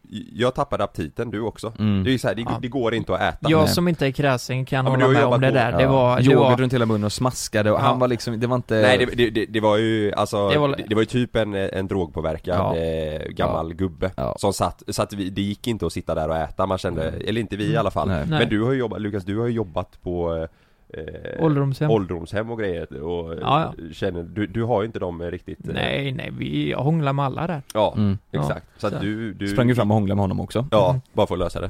D: i- Jag tappade aptiten, du också
C: Mm.
D: Det är ju så här, det,
E: Ja.
D: det går inte att äta
E: Jag
C: Nej.
E: som inte är kräsen kan
D: Ja,
E: hålla
D: men du har
E: med om
D: jobbat
E: det
D: på-
E: där. Det
C: Ja.
E: var, det
C: Yoghurt
E: var
C: runt hela munnen och smaskade och
E: Ja.
C: han var liksom, det var inte...
D: Nej det, det, det, det var ju alltså,
E: Det
D: det
E: var-
D: var, det, var ju typ en, en drogpåverkad
C: Ja.
D: eh, gammal gubbe
C: Ja. Mm.
D: Som satt, så att vi, det gick inte att sitta där och äta man kände, eller inte vi i alla fall
C: Nej.
E: Nej.
D: Men du har ju jobbat, Lukas du har ju jobbat på eh,
E: ålderdomshem.
D: ålderdomshem och grejer och eh,
E: Ja,
D: känner, du, du har ju inte dem eh, riktigt eh,
E: Nej, nej, vi, jag hånglade med alla där.
D: Ja,
C: Mm.
D: exakt. Så att
E: Så.
D: du, du
C: Sprang ju fram och hånglade med honom också.
D: Ja, bara för att lösa det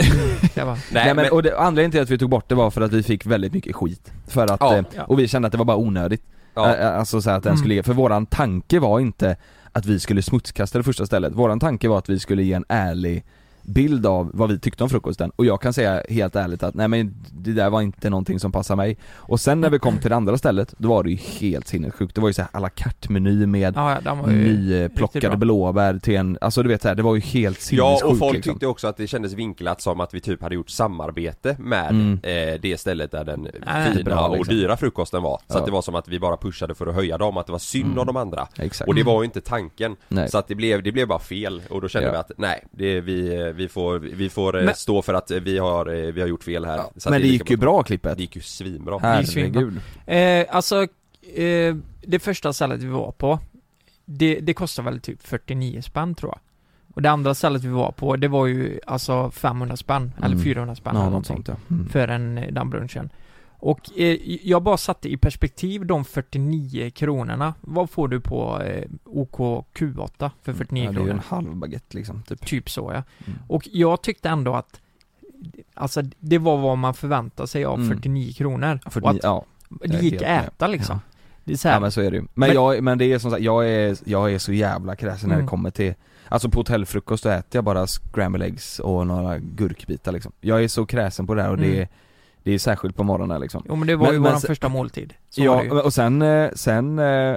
E: Det var,
C: Nej, men, och det, anledningen till att vi tog bort det var för att vi fick väldigt mycket skit. För att,
D: Ja.
C: eh, och vi kände att det var bara onödigt.
D: ja.
C: Eh, Alltså så här att
E: Mm.
C: den skulle ge, för våran tanke var inte att vi skulle smutskasta det första stället. Våran tanke var att vi skulle ge en ärlig bild av vad vi tyckte om frukosten och jag kan säga helt ärligt att nej men det där var inte någonting som passade mig. Och sen när vi kom till det andra stället, då var det ju helt sinnessjukt. Det var ju så här à la carte meny med
E: ja, ja, den var ju... riktigt bra.
C: nyplockade blåbär till en, alltså du vet så här, det var ju helt
D: Ja
C: sinnessjukt
D: och folk
C: liksom.
D: tyckte också att det kändes vinklat som att vi typ hade gjort samarbete med
C: Mm.
D: eh, det stället där den
E: Nej.
D: fina
C: Bra,
D: och
C: liksom.
D: dyra frukosten var. Så
C: Ja. Mm.
D: att det var som att vi bara pushade för att höja dem, att det var synd om de andra.
C: Exakt. Mm.
D: Och det var ju inte tanken.
C: Nej.
D: Så att det blev, det blev bara fel och då kände
C: Ja.
D: vi att nej, det, vi, vi får, vi får eh,
E: Men-
D: stå för att eh, vi har, eh, vi har gjort fel här. Så att
C: Men det gick
D: lika
C: ju bra klippet.
D: Det gick ju svinbra.
E: Det gick svinbra.
C: Herregud.
E: Eh, alltså, eh, det första stället vi var på, det, det kostade väl typ 49 spänn tror jag. Och det andra stället vi var på, det var ju alltså 500 spänn, eller
C: Mm.
E: 400 spänn
C: Ja,
E: eller
C: något
E: någonting.
C: sånt ja. Mm.
E: För en, eh, den brunchen. Och eh, jag bara satte i perspektiv de 49 kronorna. Vad får du på eh, OKQ8 för 49
C: Mm. ja, det är ju
E: kronor?
C: en halv baguette liksom, typ.
E: Typ så ja.
C: Mm.
E: Och jag tyckte ändå att Alltså det var vad man förväntade sig av
C: Mm.
E: 49 kronor. och
C: 49,
E: att
C: ja.
E: det
C: är
E: gick
C: helt
E: att äta liksom. Det är så här,
C: ja men så är det ju. Men,
E: Men-
C: jag, men det är som sagt, jag är, jag är så jävla kräsen när
E: Mm.
C: det kommer till Alltså på hotellfrukost då äter jag bara scramble eggs och några gurkbitar liksom. Jag är så kräsen på det här och det,
E: Mm.
C: är, det är särskilt på morgonen liksom.
E: Jo men det var
C: Men-
E: ju
C: men
E: våran
C: se-
E: första måltid. Så var
C: Ja,
E: det ju.
C: och sen, eh, sen eh,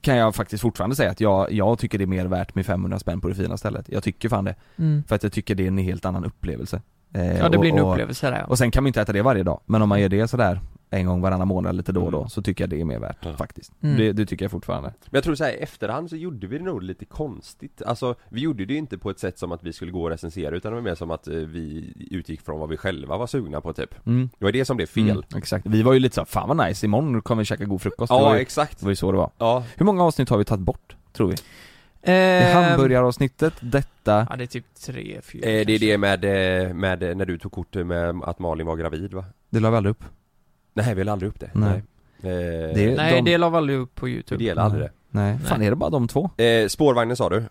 C: kan jag faktiskt fortfarande säga att jag, jag tycker det är mer värt med 500 spänn på det fina stället. Jag tycker fan det.
E: Mm.
C: För att jag tycker det är en helt annan upplevelse. Eh,
E: Ja det
C: och-
E: blir en
C: och-
E: upplevelse där ja.
C: Och sen kan man ju inte äta det varje dag, men om man gör det sådär en gång varannan månad lite då och då, så tycker jag det är mer värt faktiskt.
D: Mm.
C: Det, det tycker jag fortfarande.
D: Men jag tror så här, i efterhand så gjorde vi det nog lite konstigt Alltså, vi gjorde det ju inte på ett sätt som att vi skulle gå och recensera utan det var mer som att eh, vi utgick från vad vi själva var sugna på typ
C: Mm.
D: Det var det som blev fel
C: Mm, exakt. Vi var ju lite så här, fan vad nice, imorgon kommer vi käka god frukost. det
D: Ja,
C: var ju,
D: exakt.
C: Det var ju så det var.
D: Ja.
C: Hur många avsnitt har vi tagit bort, tror vi? Det
E: Eh,
C: är hamburgaravsnittet, detta,
E: Ja, det är typ tre, fyra
D: Eh, det
E: kanske.
D: är det med, eh, med, eh, när du tog kort med att Malin var gravid va?
C: det la vi aldrig upp.
D: Nej vi la aldrig upp det
C: Nej.
D: Eh,
C: Det-
E: Nej,
C: de-
E: det la vi aldrig upp på youtube
D: Vi delar aldrig det
C: Nej. Fan är det bara de två?
D: Eh, spårvagnen sa du?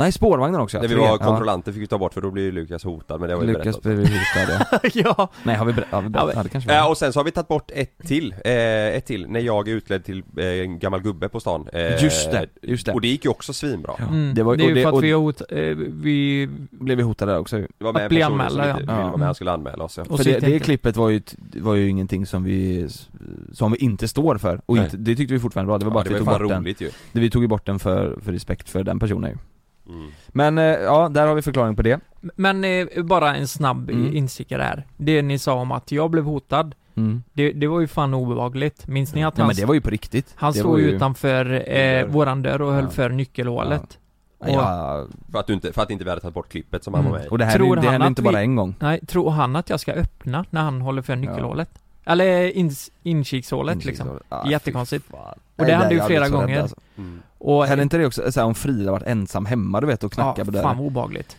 C: Nej, spårvagnen också. ja.
D: När vi
C: Tre.
D: var
C: Ja.
D: kontrollanter fick vi ta bort för då blev ju Lukas hotad men det var ju
C: Lukas
D: berättat
C: blev hotad ja.
E: Ja,
C: Nej, har vi berättat? Har vi berättat? Ja, det kanske vi har.
D: Eh, och sen så har vi tagit bort ett till, eh, ett till, när jag är utklädd till eh, en gammal gubbe på stan eh,
C: Just det, just det.
D: Och det gick ju också svinbra
C: Ja.
E: mm.
C: Det
E: det,
C: var-
E: är
C: och
E: ju
C: det-
E: för att
C: och-
E: vi, har hot, eh, vi
C: Blev vi hotade där också ju.
D: Det var
E: Att
D: med
E: bli
D: personer
E: anmälda,
D: som inte
E: ja.
D: ville
C: Ja.
D: vara med, han skulle anmäla oss ja.
E: Och
C: För
E: så
C: det,
E: gick det
C: det
E: inte.
C: klippet var ju, t- var ju ingenting som vi, som vi inte står för, och
D: Nej.
C: inte, det tyckte vi fortfarande var bra, det var bara
D: ja, det var
C: att
D: ju
C: vi tog bort
D: fan
C: den,
D: roligt ju
C: det, vi tog ju bort den för, för respekt för den personen ju.
D: mm.
C: Men eh, ja, där har vi förklaring på det.
E: Men eh, bara en snabb
C: Mm.
E: instickare här Det ni sa om att jag blev hotad
C: Mm.
E: Det, det var ju fan obehagligt Minns ni att
C: Ja
E: han,
C: men det var ju på riktigt.
E: han
C: det
E: stod
C: var
E: ju utanför eh, våran dörr och höll
C: Ja.
E: för nyckelhålet
C: Ja, ja,
D: för, att du inte, för att inte vi hade tagit bort klippet som han
E: Mm.
D: var med i
C: och det här
E: Tror
C: är ju- det
E: han
C: hände
E: att
C: inte
E: vi-
C: bara en gång.
E: Nej, tror han att jag ska öppna när han håller för nyckelhålet? Eller ins, inkikshålet liksom
C: Ja,
E: Jättekonstigt.
C: fy fan.
E: det
C: Nej,
E: hände ju
C: jag blev
E: flera
C: så rädd,
E: gånger.
C: alltså.
D: mm.
E: Och
C: Hände inte det också, såhär, om Frida varit ensam hemma du vet och knackade på
E: ja, fan
C: dörren?
E: vad obehagligt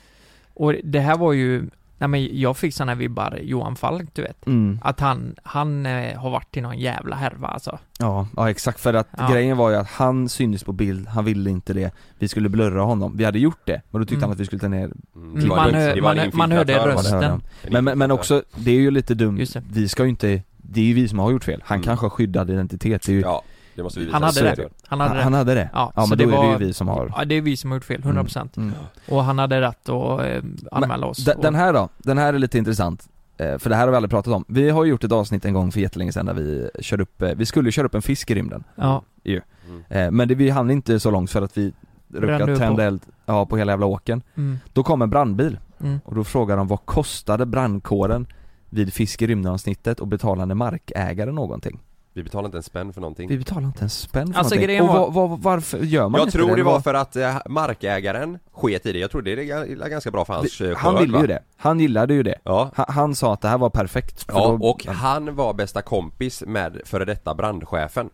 E: Och det här var ju Nej men jag fick såna här vibbar, Johan Falk du vet
C: Mm.
E: Att han, han eh, har varit i någon jävla härva alltså.
C: Ja, ja exakt för att
E: Ja.
C: grejen var ju att han syntes på bild, han ville inte det Vi skulle blurra honom, vi hade gjort det men då tyckte
E: Mm.
C: han att vi skulle ta ner
D: Mm.
E: Mm. Man,
D: en-
E: hör,
D: en
E: man, man hörde
D: infiltratör var det.
C: röst.
E: rösten.
D: En
C: Men, men, men
D: infiltratör.
C: också, det är ju lite dumt,
E: Just det.
C: vi ska ju inte Det är ju vi som har gjort fel, han
D: Mm.
C: kanske har skyddad identitet, det är ju,
D: Ja, det måste vi visa
E: Han hade
D: Så är
E: det. Han hade
C: han
E: det.
C: hade det
E: Ja,
C: Ja,
E: så
C: men
E: det
C: då är det
E: var-
C: ju vi som har
E: Ja, det är vi som har gjort fel, 100%.
C: Mm.
E: Och han hade rätt att eh, anmäla oss.
C: Den-
E: och,
C: Den här då, den här är lite intressant eh, För det här har vi aldrig pratat om, vi har ju gjort ett avsnitt en gång för jättelänge sedan där vi körde upp, eh, vi skulle ju köra upp en fisk i rymden
E: ja,
D: Mm.
C: Eh, Men det, vi hann inte så långt för att vi
E: Brände
C: råkade
E: upp
C: tända
E: på.
C: eld, ja på hela jävla åken
E: mm,
C: Då kom en brandbil
E: mm.
C: Och då frågar de vad kostade brandkåren vid fisk i rymdenavsnittet och betalade markägare någonting?
D: Vi betalade inte en spänn för någonting
C: Vi betalar inte en spänn för
E: Alltså,
C: någonting.
E: grejen
C: Och
E: var-
C: vad- vad- varför gör man
D: Jag
C: inte
D: tror det var
C: Vad-
D: för att eh, markägaren sket i det, jag tror det är ganska bra för hans eh,
C: Han
D: skörd,
C: ville
D: va?
C: ju det, han gillade ju det
D: Ja,
C: Han, han sa att det här var perfekt för
D: Ja,
C: då-
D: och han var bästa kompis med före detta brandchefen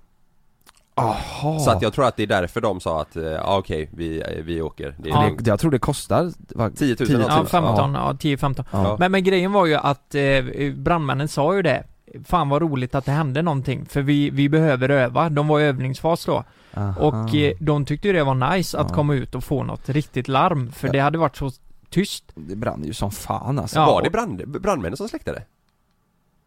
C: Aha.
D: Så att jag tror att det är därför de sa att, eh, ja okej, vi, eh, vi åker Det är
E: Ja.
D: lugnt.
C: Jag tror det kostar vad-
D: 10 000
C: 10 000.
E: ja 15,
C: typ- Ja.
E: ja 10-15.
C: Ja.
E: Men, men grejen var ju att eh, brandmännen sa ju det. Fan vad roligt att det hände någonting, för vi, vi behöver öva. De var i övningsfas då.
C: Aha.
E: Och eh, de tyckte ju det var nice att
C: Ah. Ja.
E: komma ut och få något riktigt larm, för
C: Ja.
E: det hade varit så tyst.
C: Det brann ju som fan alltså
E: Ja.
D: Var det brand, brandmännen som släckte det?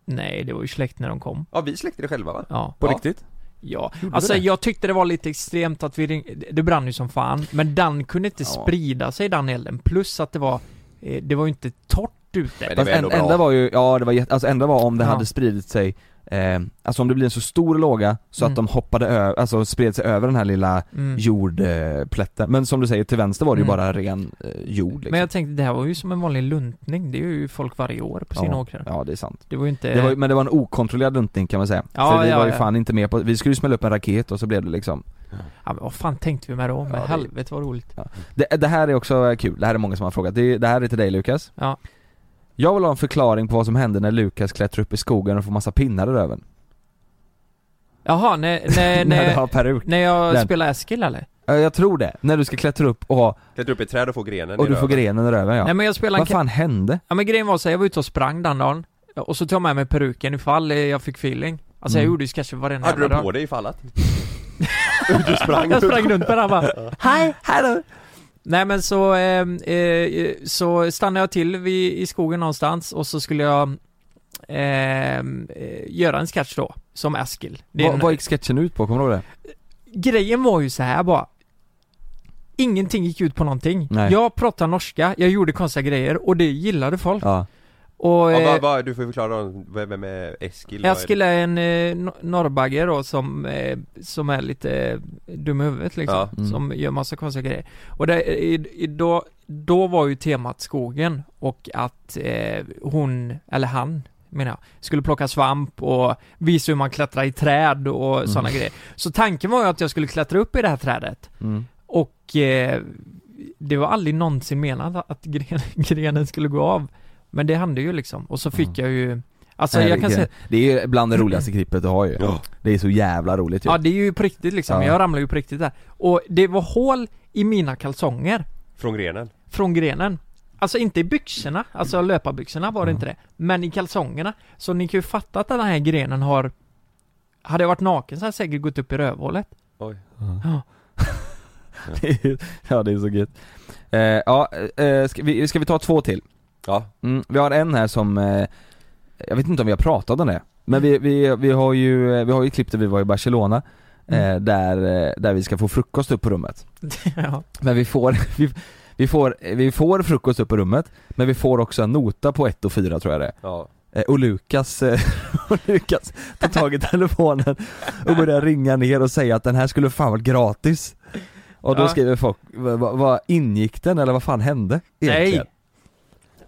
E: Nej, det var ju släkt när de kom.
D: Ja vi släckte det själva va?
E: Ja.
C: På
D: Ja.
C: riktigt?
E: Ja,
C: Gjorde
E: alltså
C: det?
E: jag tyckte det var lite extremt att vi ringde, det brann ju som fan, men den kunde inte
C: Ja.
E: sprida sig den elden, plus att det var, eh, det var ju inte torrt ute.
D: Men det
C: Fast
D: var ändå
C: en,
D: bra
C: enda var ju, ja det var jätte, alltså enda var om det
E: Ja.
C: hade spridit sig eh, Alltså om det blir en så stor låga så att
E: Mm.
C: de hoppade över, alltså spred sig över den här lilla
E: Mm.
C: jordplätten Men som du säger, till vänster var det ju
E: Mm.
C: bara ren eh, jord liksom.
E: Men jag tänkte det här var ju som en vanlig luntning, det är ju folk varje år på sina
C: ja,
E: åkrar.
C: ja det är sant
E: Det var ju inte...
C: det var, ju- Men det var en okontrollerad duntning kan man säga,
E: Eh. Ja,
C: för vi
E: ja,
C: var ju
E: ja.
C: fan inte med på, vi skulle ju smälla upp en raket och så blev det liksom
E: ja, men vad fan tänkte vi med då? Men
C: Ja, det-
E: helvete vad roligt.
C: det, det här är också kul, det här är många som har frågat, det, det här är till dig Lukas
E: Ja.
C: Jag vill ha en förklaring på vad som hände när Lukas klättrar upp i skogen och får massa pinnar i röven
E: Jaha, när, när,
C: När du har
E: när,
C: peruk
E: när jag
C: Den.
E: spelade Eskil eller?
C: Ja, Jag tror det, när du ska klättra upp och ha
D: Klättrade upp i ett träd och får grenen
C: Och
D: i
C: du får
D: röven.
C: grenen i röven ja.
E: Nej men jag spelade en...
C: Vad
E: ka-
C: fan hände?
E: Ja men grejen var så här, jag var ute och sprang den dagen, och så tog jag med mig peruken ifall eh, jag fick feeling. Alltså jag
C: Mm.
E: gjorde ju kanske varenda
D: Hade du
E: jävla dag.
D: den på dig i fallet? du sprang
E: Jag sprang runt med den bara Hej, hej då! Nej men så, eh, eh, så stannade jag till vid, i skogen någonstans och så skulle jag eh, eh, göra en sketch då, som Eskil. Det är
C: Vad,
E: en-
C: vad gick sketchen ut på? Kommer du ihåg det?
E: Grejen var ju så här bara Ingenting gick ut på någonting.
C: Nej.
E: Jag pratade norska, jag gjorde konstiga grejer och det gillade folk.
C: Ja.
E: Och,
D: Ja,
E: eh,
D: vad, vad, du får ju förklara om- vem vem är Eskil? Vad är det?
E: Eskil är en eh, no- norrbagge då som, eh, som är lite eh, dum i huvudet liksom,
D: Ja.
C: Mm.
E: som gör massa konstiga grejer. Och det, i, i, då, då var ju temat skogen och att eh, hon, eller han, menar jag, skulle plocka svamp och visa hur man klättrar i träd och
C: Mm.
E: såna sådana grejer. Så tanken var ju att jag skulle klättra upp i det här trädet
C: Mm.
E: och eh, det var aldrig någonsin menat att gren, grenen skulle gå av. Men det hände ju liksom och så fick jag ju Alltså jag
C: Mm.
E: kan
C: Herregud.
E: säga,
C: Det är ju bland det roligaste klippet du har ju Det är så jävla roligt ju
E: ja det är ju på riktigt liksom,
C: Typ. Ja.
E: jag ramlade ju på riktigt där. Och det var hål i mina kalsonger
D: Från grenen?
E: från grenen. Alltså inte i byxorna, alltså löparbyxorna
C: Mm.
E: var det inte det, men i kalsongerna. Så ni kan ju fatta att den här grenen har Hade jag varit naken så hade jag säkert gått upp i rövhålet.
D: Oj
E: Ja.
C: Ja det är så gött eh, Ja, eh, ska, vi, ska vi ta två till?
D: Ja
C: mm, Vi har en här som eh, Jag vet inte om vi har pratat om det Men vi, vi, vi har ju, eh, vi har ju klippt där vi var i Barcelona
E: Mm.
C: eh, där, eh, där vi ska få frukost upp på rummet
E: ja.
C: Men vi får, vi, vi får, vi får frukost upp på rummet Men vi får också en nota på 1 och 4 tror jag det är.
D: Ja
C: Eh, Och Lukas, eh, och Lukas tar tag i telefonen och börjar ringa ner och säga att den här skulle fan varit gratis Och då
E: Ja.
C: skriver folk, vad, vad- vad ingick den eller vad fan hände egentligen?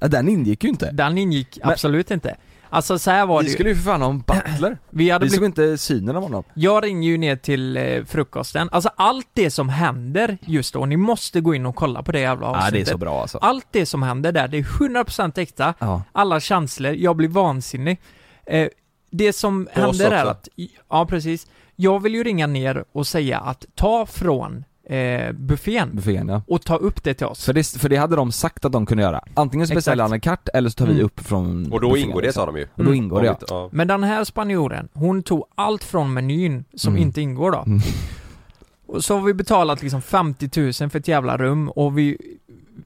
C: Nej! Den ingick ju inte!
E: Den ingick absolut inte. Alltså så här var
C: Vi
E: det
C: skulle
E: ju.
C: ju för fan ha en butler!
E: Vi hade
C: Vi såg
E: blivit,
C: inte synen av honom
E: jag ringer ju ner till eh, frukosten, alltså allt det som händer just då, ni måste gå in och kolla på det jävla avsnittet.
C: Nej det är så bra alltså
E: Allt det som händer där, det är 100% äkta,
C: Ja,
E: alla känslor, jag blir vansinnig. Eh, det som
D: På oss
E: händer är
D: också.
E: att, ja precis, jag vill ju ringa ner och säga att ta från eh, buffén
C: buffén ja
E: och ta upp det till oss.
C: för det, för det hade de sagt att de kunde göra, antingen så
E: Exakt.
C: beställer han en kart eller så tar vi
E: Mm.
C: upp från
D: Och då
C: buffén,
D: ingår det
C: liksom.
D: sa de ju
C: Och då ingår det ja,
D: ja
E: Men den här spanjoren, hon tog allt från menyn som
C: Mm.
E: inte ingår då.
C: Mm.
E: Och så har vi betalat liksom 50 000 för ett jävla rum och vi,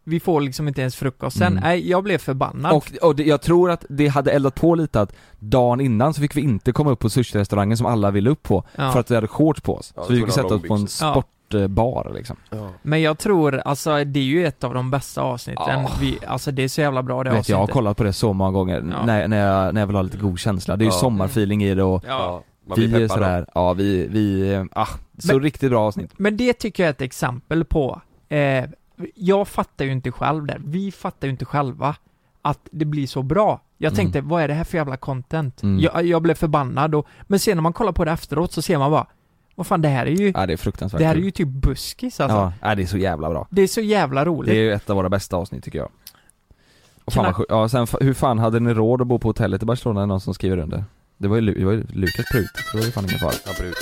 E: vi får liksom inte ens frukosten.
C: Mm.
E: Nej, jag blev förbannad.
C: Och, och det, jag tror att det hade eldat på lite att dagen innan så fick vi inte komma upp på sushi-restaurangen som alla ville upp på
E: Ja.
C: för att vi hade shorts på oss.
D: Ja,
C: så vi fick
D: tvungna
C: sätta oss på en
E: Ja.
C: sportbar liksom.
E: Men jag tror, alltså det är ju ett av de bästa avsnitten.
C: Ja.
E: Vi, alltså det är så jävla bra det
C: Vet, jag har
E: avsnittet.
C: kollat på det så många gånger
E: Ja.
C: när, när, jag, när jag vill ha lite god känsla. Det är ju
D: Ja.
C: sommarfeeling i det och
E: ja.
D: Man blir
C: vi är
D: peppad då.
C: sådär, ja vi, vi, eh, ah, så
E: Men-
C: riktigt bra avsnitt.
E: Men det tycker jag är ett exempel på, eh, jag fattar ju inte själv där, vi fattar ju inte själva att det blir så bra. Jag
C: Mm.
E: tänkte, vad är det här för jävla content?
C: Mm.
E: Jag, jag blev förbannad och, men sen när man kollar på det efteråt så ser man bara, vad fan det här är ju,
C: Ja det är fruktansvärt
E: det här är
C: kul.
E: ju typ buskis alltså.
C: ja, ja, det är så jävla bra.
E: Det är så jävla
C: Det är
E: roligt.
C: ju ett av våra bästa avsnitt tycker jag. Och fan
E: Knack-
C: vad sjukt. Ja sen, fa- hur fan hade ni råd att bo på hotellet i Barcelona? Är det någon som skriver under? Det var ju, Lu- det var ju Lukas prut, så det var ju fan ingen fara.
D: Han brukar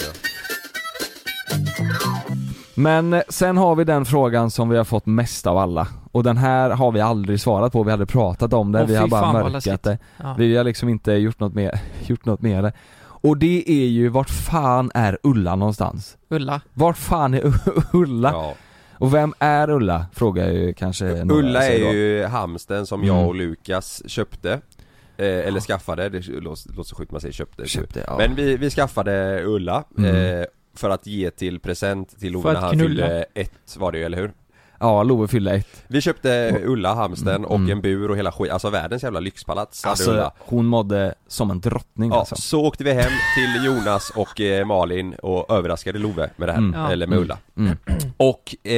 C: Men eh, sen har vi den frågan som vi har fått mest av alla och den här har vi aldrig svarat på, vi hade pratat om det,
E: Åh,
C: vi
E: fy
C: har bara
E: fan, vad
C: mörkat
E: läskigt.
C: det.
E: Ja.
C: Vi har liksom inte gjort något med, gjort något med det. Och det är ju, vart fan är Ulla någonstans?
E: Ulla.
C: Vart fan är Ulla?
D: ja.
C: Och vem är Ulla? Frågar ju kanske Eh, några
D: Ulla
C: sig
D: är
C: då.
D: ju hamsten som
C: Mm.
D: jag och Lukas köpte eh, Eller skaffade, det låter, låter så sjukt man säger köpte, typ.
C: Köpte, ja.
D: Men vi, vi skaffade Ulla
C: Mm.
D: eh, För att ge till present till Ove
E: För
D: när
E: att
D: han
E: knulla.
D: fyllde ett var det ju, eller hur?
C: Ja, Love fyllde ett.
D: Vi köpte Ulla, hamsten och
C: Mm.
D: en bur och hela skit, alltså världens jävla lyxpalats hade
C: Alltså,
D: Ulla.
C: hon mådde som en drottning
D: Ja,
C: alltså.
D: så åkte vi hem till Jonas och eh, Malin och överraskade Love med det här,
C: Mm.
E: Ja.
D: eller med Ulla
C: Mm.
D: Och, eh,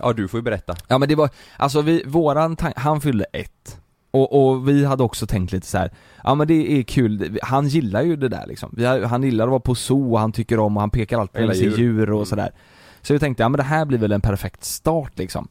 D: ja du får ju berätta
C: Ja men det var, alltså vi, våran tank, han fyllde ett och, och vi hade också tänkt lite så här. ja men det är kul, han gillar ju det där liksom. vi har, Han gillar att vara på zoo, och han tycker om och han pekar alltid på
D: Hela
C: djur.
D: djur.
C: djur och
D: Mm.
C: sådär Så vi tänkte, ja men det här blir väl en perfekt start liksom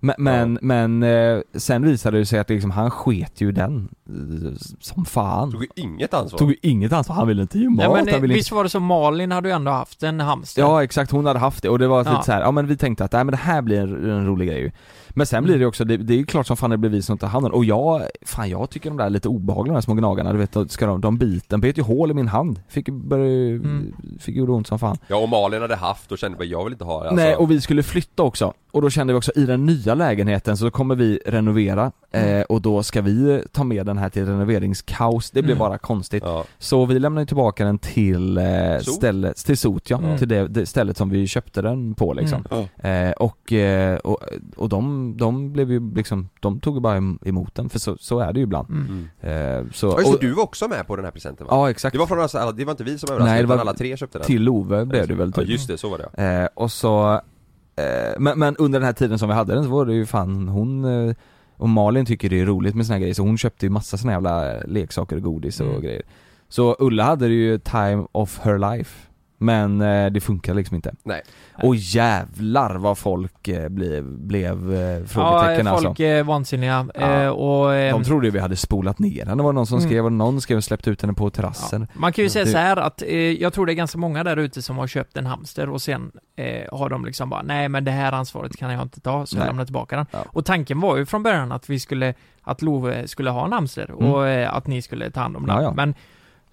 C: Men, men, men eh, sen visade det sig att liksom, han sket ju den eh, som fan
D: Tog ju inget ansvar
C: Tog ju inget ansvar, han ville inte ge mat,
E: Nej, men, eh,
C: han ville inte
E: visst var det så Malin hade ju ändå haft en hamster?
C: Ja exakt, hon hade haft det och det var
E: typ Ja.
C: lite så här, ja men vi tänkte att nej, men det här blir en, en rolig grej ju. Men sen blir det ju också, det, det är ju klart som fan det blir vi som tar hand om det. och jag, fan jag tycker de där är lite obehagliga de här små gnagarna, du vet, då ska de, de biter, bet ju hål i min hand, fick ju började,
E: Mm.
C: fick ju ont som fan.
D: Ja och Malin hade haft och kände bara jag vill inte ha det alltså.
C: Nej och vi skulle flytta också, och då kände vi också i den nya lägenheten så kommer vi renovera, eh, och då ska vi ta med den här till renoveringskaos, det blir
E: Mm.
C: bara konstigt.
D: ja.
C: Så vi lämnar ju tillbaka den till eh,
D: Sot?
C: stället, till Sot ja,
E: Mm.
C: till det, det stället som vi köpte den på liksom. Eh, och, eh, och, och de, de blev ju liksom, de tog ju bara em- emot den för så, så är det ju ibland.
E: Mm.
D: Mm.
C: Eh, så,
D: Ja, just,
C: och,
D: och, du var också med på den här presenten va?
C: ja exakt,
D: Det var från oss alla, det var inte vi som
C: Nej,
D: överraskade
C: det var
D: utan alla tre köpte den Alltså,
C: till Ove blev det väl
D: Ja
C: typ.
D: just det, så var det ja.
C: eh, och så, eh, men, men under den här tiden som vi hade den så var det ju fan hon eh, Och Malin tycker det är roligt med såna här grejer så hon köpte ju massa såna jävla leksaker och godis och
E: Mm.
C: grejer Så Ulla hade det ju time of her life Men eh, det funkar liksom inte
D: Nej.
C: Och jävlar vad folk eh, blev, blev eh,
E: Ja,
C: frågetecken
E: eh,
C: alltså
E: folk är vansinniga eh,
C: Ja.
E: och... ehm,
C: De trodde ju vi hade spolat ner henne, det var någon som
E: Mm.
C: skrev och någon skrev och släppte ut henne på terrassen
E: Man kan ju säga
C: Det-
E: så här att eh, jag tror det är ganska många där ute som har köpt en hamster och sen eh, har de liksom bara nej men det här ansvaret kan jag inte ta så jag
C: Nej.
E: lämnar tillbaka den.
C: Ja.
E: Och tanken var ju från början att vi skulle, att Love skulle ha en hamster
C: Mm.
E: och eh, att ni skulle ta hand om den.
C: Ja, ja.
E: Men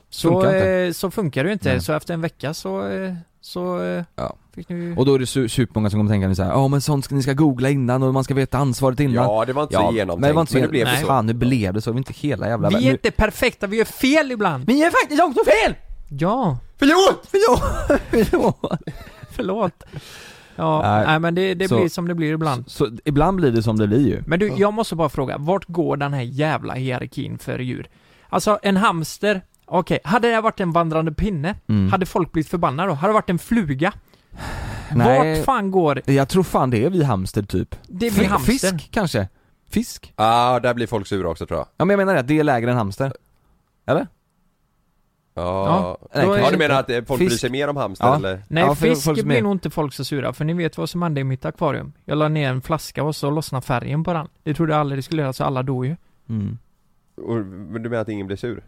E: så
C: Funkar inte.
E: funkar, så funkar det ju inte
C: Nej.
E: så efter en vecka så, eh, så eh,
C: Ja.
E: fick ni ju...
C: Och då är det su- supermånga som kommer tänka nu såhär, ja men sånt ska ni ska googla innan och man ska veta ansvaret innan
D: Ja, det var inte så genomtänkt.
C: Men det var inte så
D: blev
E: Nej.
C: genomtänkt,
D: så.
C: fan nu blev det så, vi är inte hela jävla
E: Vi
C: världen.
E: är inte perfekta, vi gör fel ibland!
F: Ni är faktiskt också fel!
E: Ja,
F: Förlåt!
C: Nu-
E: förlåt. Ja, nej,
C: Nej.
E: men det, det
C: Så-
E: blir som det blir ibland.
C: Så, så ibland blir det som det blir ju
E: Men du, jag måste bara fråga, vart går den här jävla hierarkin för djur? Alltså, en hamster, okej, hade det varit en vandrande pinne,
C: Mm.
E: hade folk blivit förbannade då? Hade det varit en fluga?
C: Nej.
E: Vart fan går...
C: Jag tror fan det är vi hamster typ
E: Det
C: Fri-
E: blir hamster.
C: Fisk kanske? Fisk?
D: Ah, där blir folk sura också tror jag.
C: Ja men jag menar det, det är lägre än hamster Eller?
D: Ja,
E: då är-
D: ja du menar att eh, folk bryr
C: Fisk.
D: sig mer om hamster
C: Ja.
D: eller?
E: Nej,
C: Ja, för-
E: fisk
C: folk som är-
E: blir nog inte folk så sura, för ni vet vad som hände i mitt akvarium. Jag la ner en flaska och så lossnade färgen på den. Det trodde jag aldrig det skulle göra, så alla dog ju.
C: Mm.
D: Och, men du menar att ingen blir sur?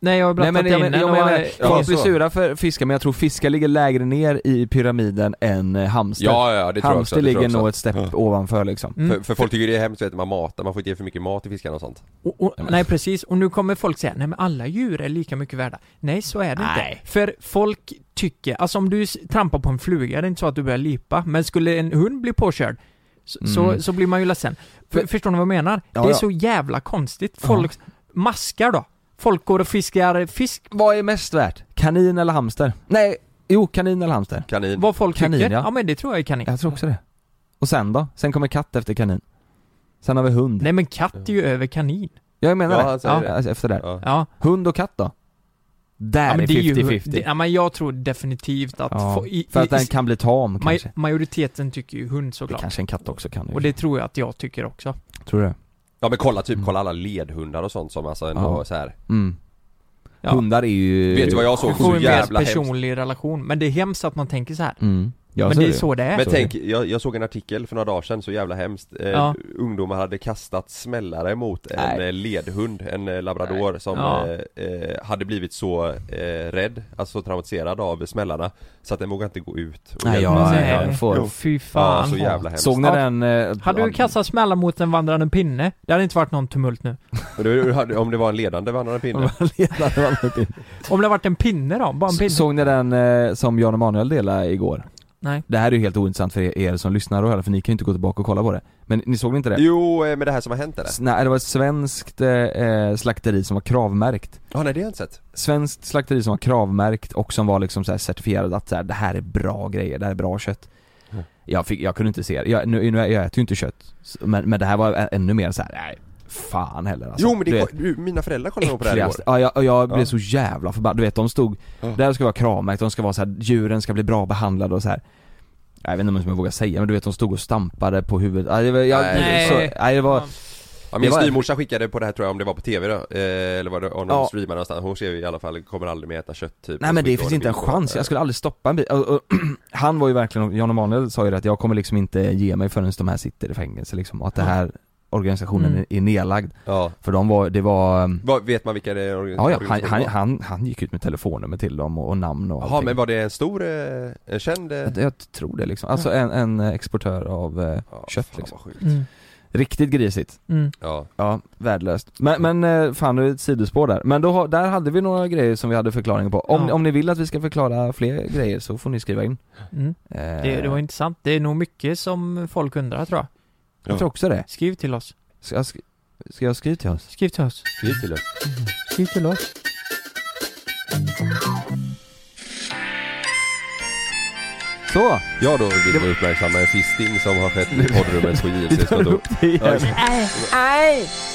E: Nej, jag har
C: Nej
E: brattat
C: men jag,
E: in
C: men,
E: den
C: jag
E: och...
C: menar,
E: eh,
D: ja,
C: folk blir
D: så.
C: sura för fiskar men jag tror fiskar ligger lägre ner i pyramiden än eh, hamster
D: Ja, ja, det tror jag också.
C: Hamster
D: Det tror
C: ligger
D: jag också.
C: nog ett snäpp ovanför liksom
E: Mm.
D: För, för folk tycker det är hemskt vet, man matar, man får inte ge för mycket mat till fiskarna och sånt.
E: Och, och, nej precis, och nu kommer folk säga nej men alla djur är lika mycket värda. Nej så är det
C: Nej.
E: inte. För folk tycker, alltså om du s- trampar på en fluga, det är inte så att du börjar lipa, men skulle en hund bli påkörd så, så,
C: Mm.
E: så blir man ju ledsen. För,
C: Men-
E: förstår ni vad jag menar?
C: Ja,
E: det är
C: ja.
E: så jävla konstigt. Folk, maskar då? Folk går och fiskar fisk,
C: Vad är mest värt? Kanin eller hamster? Nej, jo kanin eller hamster?
D: Kanin.
E: vad folk
C: Kanin,
E: tycker. Ja.
C: ja.
E: men det tror jag är kanin.
C: Jag tror också det Och sen då? Sen kommer katt efter kanin Sen har vi hund
E: Nej men katt är ju över kanin.
C: Jag menar
D: Ja,
C: det,
D: han säger det.
C: alltså, efter där
D: Ja.
E: Ja.
C: Hund och katt då? Där
E: ja men
C: är
E: ju-
C: 50-50
E: det- Ja men jag tror definitivt att...
C: Ja,
E: få- i-
C: För
E: i-
C: att den kan bli tam
E: maj,
C: kanske
E: majoriteten tycker ju hund
C: Det
E: såklart.
C: kanske en katt också kan ju.
E: Och det tror jag att jag tycker också.
C: Tror du?
D: ja men kolla typ, kolla alla ledhundar och sånt som alltså ändå
C: Ja.
D: så här.
C: Mm
E: Ja.
C: Hundar är ju...
D: Vet du vad jag såg?
E: Du får
D: Så
E: en mer
D: jävla hemskt.
E: personlig relation, men det är hemskt att man tänker så här.
C: Mm jag
E: men
C: ser
E: det är så det är.
D: Men
C: Så
D: tänk, jag, jag såg en artikel för några dagar sedan, så jävla hemskt eh,
E: Ja.
D: Ungdomar hade kastat smällare mot en
C: Nej.
D: eh, ledhund, en eh, labrador som
E: Ja.
D: eh, eh, hade blivit så eh, rädd, alltså traumatiserad av smällarna Så att den vågade inte gå ut och
C: Nej,
D: hjälpa
C: jag-
D: sina-
E: Nej.
C: jag får-
D: Ja,
E: Fy
D: Ja,
E: fan.
D: så jävla hemskt
C: Såg ni
E: Ja.
C: den... eh,
E: hade du kastat smällar mot en vandrande pinne, det hade inte varit någon tumult nu.
D: Och det- hade- Om det var en ledande vandrande pinne
E: Om det hade varit en pinne då, bara en pinne.
C: Såg ni den eh, som Jan Emanuel delade igår?
E: Nej.
C: Det här är ju helt ointressant för er- er som lyssnar och hör, för ni kan ju inte gå tillbaka och kolla på det Men ni såg inte det?
D: Jo, eh, med det här som har hänt eller?
C: S- Nej, det var ett svenskt eh, slakteri som var kravmärkt
D: Ja nej det har jag inte sett
C: Svenskt slakteri som var kravmärkt och som var liksom så här certifierad att så här, det här är bra grejer, det här är bra kött
D: Mm.
C: jag, fick, jag kunde inte se det, jag, nu, nu, jag äter ju inte kött S- men, men det här var ä- ännu mer så här, nej fan heller alltså.
D: Jo men det,
C: Du
D: ko- du, mina föräldrar kollade nog på det här igår
C: Äckligaste. Ja, jag, och jag blev
D: Ja.
C: så jävla förbannad. Du vet de stod,
D: Ja.
C: där ska vara kravmärkt, de ska vara så här, djuren ska bli bra behandlade och så här. Jag vet inte om jag vågar säga men du vet de stod och stampade på huvudet. Nej, det var, jag,
D: Nej.
C: Så, nej, det var,
D: Ja, min
C: Det var-
D: styvmorsa skickade på det här tror jag, om det var på TV då, eh, eller var det, om de
C: Ja.
D: streamade någonstans, hon skrev i alla fall 'Kommer aldrig mer äta kött' typ
C: nej men det finns inte en chans, jag skulle aldrig stoppa en bil. Och, och, han var ju verkligen, Jan Emanuel sa ju det att jag kommer liksom inte ge mig förrän de här sitter i fängelse liksom. Och att det här organisationen
E: Mm.
C: är, är nedlagd.
D: Ja,
C: För de var, det var ehm,
D: Vad- vet man vilka det är? organ-
C: Ja, ja han,
D: organisationer
C: han,
D: var?
C: han, han gick ut med telefonnummer till dem och, och namn och
D: Jaha, men var det en stor, eh, en känd? eh,
C: Jag, jag tror det liksom. Alltså en, en exportör av eh,
D: Ja,
C: kött
D: fan,
C: liksom.
D: vad sjukt.
E: Mm,
C: Riktigt grisigt.
E: mm.
D: Ja,
C: Ja, värdelöst. Men, men eh, fan det är ett sidospår där. Men då, har- där hade vi några grejer som vi hade förklaringar på. Om,
E: Ja.
C: om ni vill att vi ska förklara fler grejer så får ni skriva in.
E: Mm.
C: Eh,
E: Det, det var intressant. Det är nog mycket som folk undrar tror jag.
C: Jag tror också det.
E: Skriv till oss.
C: Ska jag, sk- ska jag skriva till oss?
E: Skriv till oss.
D: skriv till oss
E: Skriv till oss.
C: Så!
D: Ja då vill vi uppmärksamma en fisting som har skett i poddrummet på JLCs kontor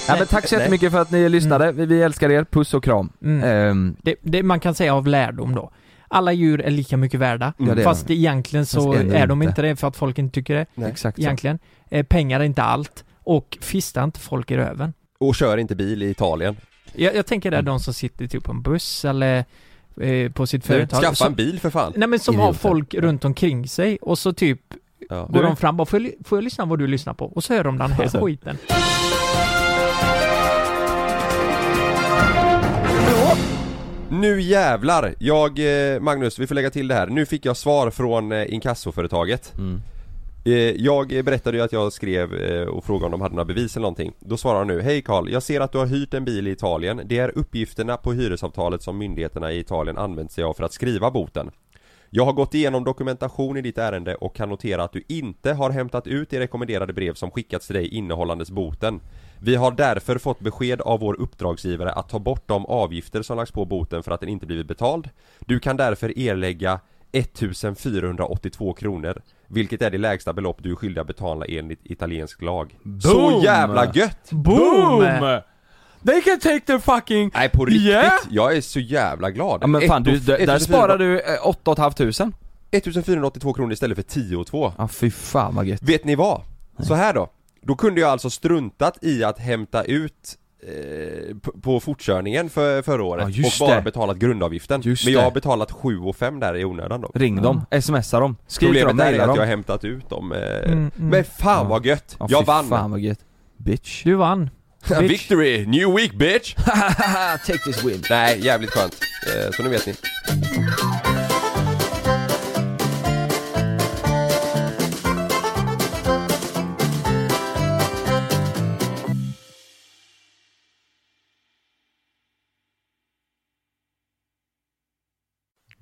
C: Ja, men tack så jättemycket för att ni lyssnade. Vi, vi älskar er. Puss och kram.
E: Mm.
C: Ehm,
E: Det, det man kan säga av lärdom då. Alla djur är lika mycket värda.
C: Ja, det är
E: fast egentligen så
C: Fast ändå
E: är de
C: inte.
E: inte det för att folk inte tycker det.
D: Nej.
C: exakt så.
E: egentligen. Eh, pengar är inte allt. Och fista inte folk i röven.
D: Och kör inte bil i Italien.
E: Jag, jag tänker det är
D: Mm.
E: de som sitter typ på en buss eller eh, på sitt företag.
D: Skaffa
E: som,
D: en bil för fan.
E: Nej men som har folk runt omkring sig och så typ
D: Ja.
E: går de fram och bara, får jag, ly- får jag lyssna på vad du lyssnar på? Och så hör de den här skiten.
D: Nu jävlar! Jag, eh, Magnus, vi får lägga till det här. Nu fick jag svar från eh, inkassoföretaget.
C: Mm.
D: Eh, Jag berättade ju att jag skrev eh, och frågade om de hade några bevis eller någonting. Då svarar han nu, Hej Karl, jag ser att du har hyrt en bil i Italien. Det är uppgifterna på hyresavtalet som myndigheterna i Italien använt sig av för att skriva boten. Jag har gått igenom dokumentation i ditt ärende och kan notera att du inte har hämtat ut det rekommenderade brev som skickats till dig innehållandes boten. Vi har därför fått besked av vår uppdragsgivare att ta bort de avgifter som lagts på boten för att den inte blivit betald. Du kan därför erlägga 1482 kronor, vilket är det lägsta belopp du är skyldig att betala enligt italiensk lag. Så
L: Boom!
D: jävla gött!
L: Boom! They can take their fucking...
D: Nej på riktigt,
L: Yeah!
D: jag är så jävla glad.
C: Ja, men fan, du, där, där sparar du eh, 8 500.
D: 1482 kronor istället för 10 och 2.
C: Ja fy fan vad gött.
D: Vet ni vad? Så här då. Då kunde jag alltså struntat i att hämta ut eh, p- på fortkörningen för, förra året
C: Ja,
D: och
C: just
D: bara
C: det.
D: betalat grundavgiften.
C: Just
D: Men jag har
C: det.
D: betalat 7 och 5 där i onödan då.
C: Ring dem, smsa dem, skriv till dem,
D: Problemet är
C: mejla
D: att
C: dem.
D: jag har hämtat ut dem. Eh,
E: Mm, mm.
D: Men
C: Ja.
D: fan vad gött!
C: Ja,
D: jag
C: fy
D: vann!
C: fan vad gött. Bitch.
E: Du vann. Bitch.
D: Victory! New week bitch! Ah, Take this win! Nej, jävligt skönt. Eh, så nu vet ni.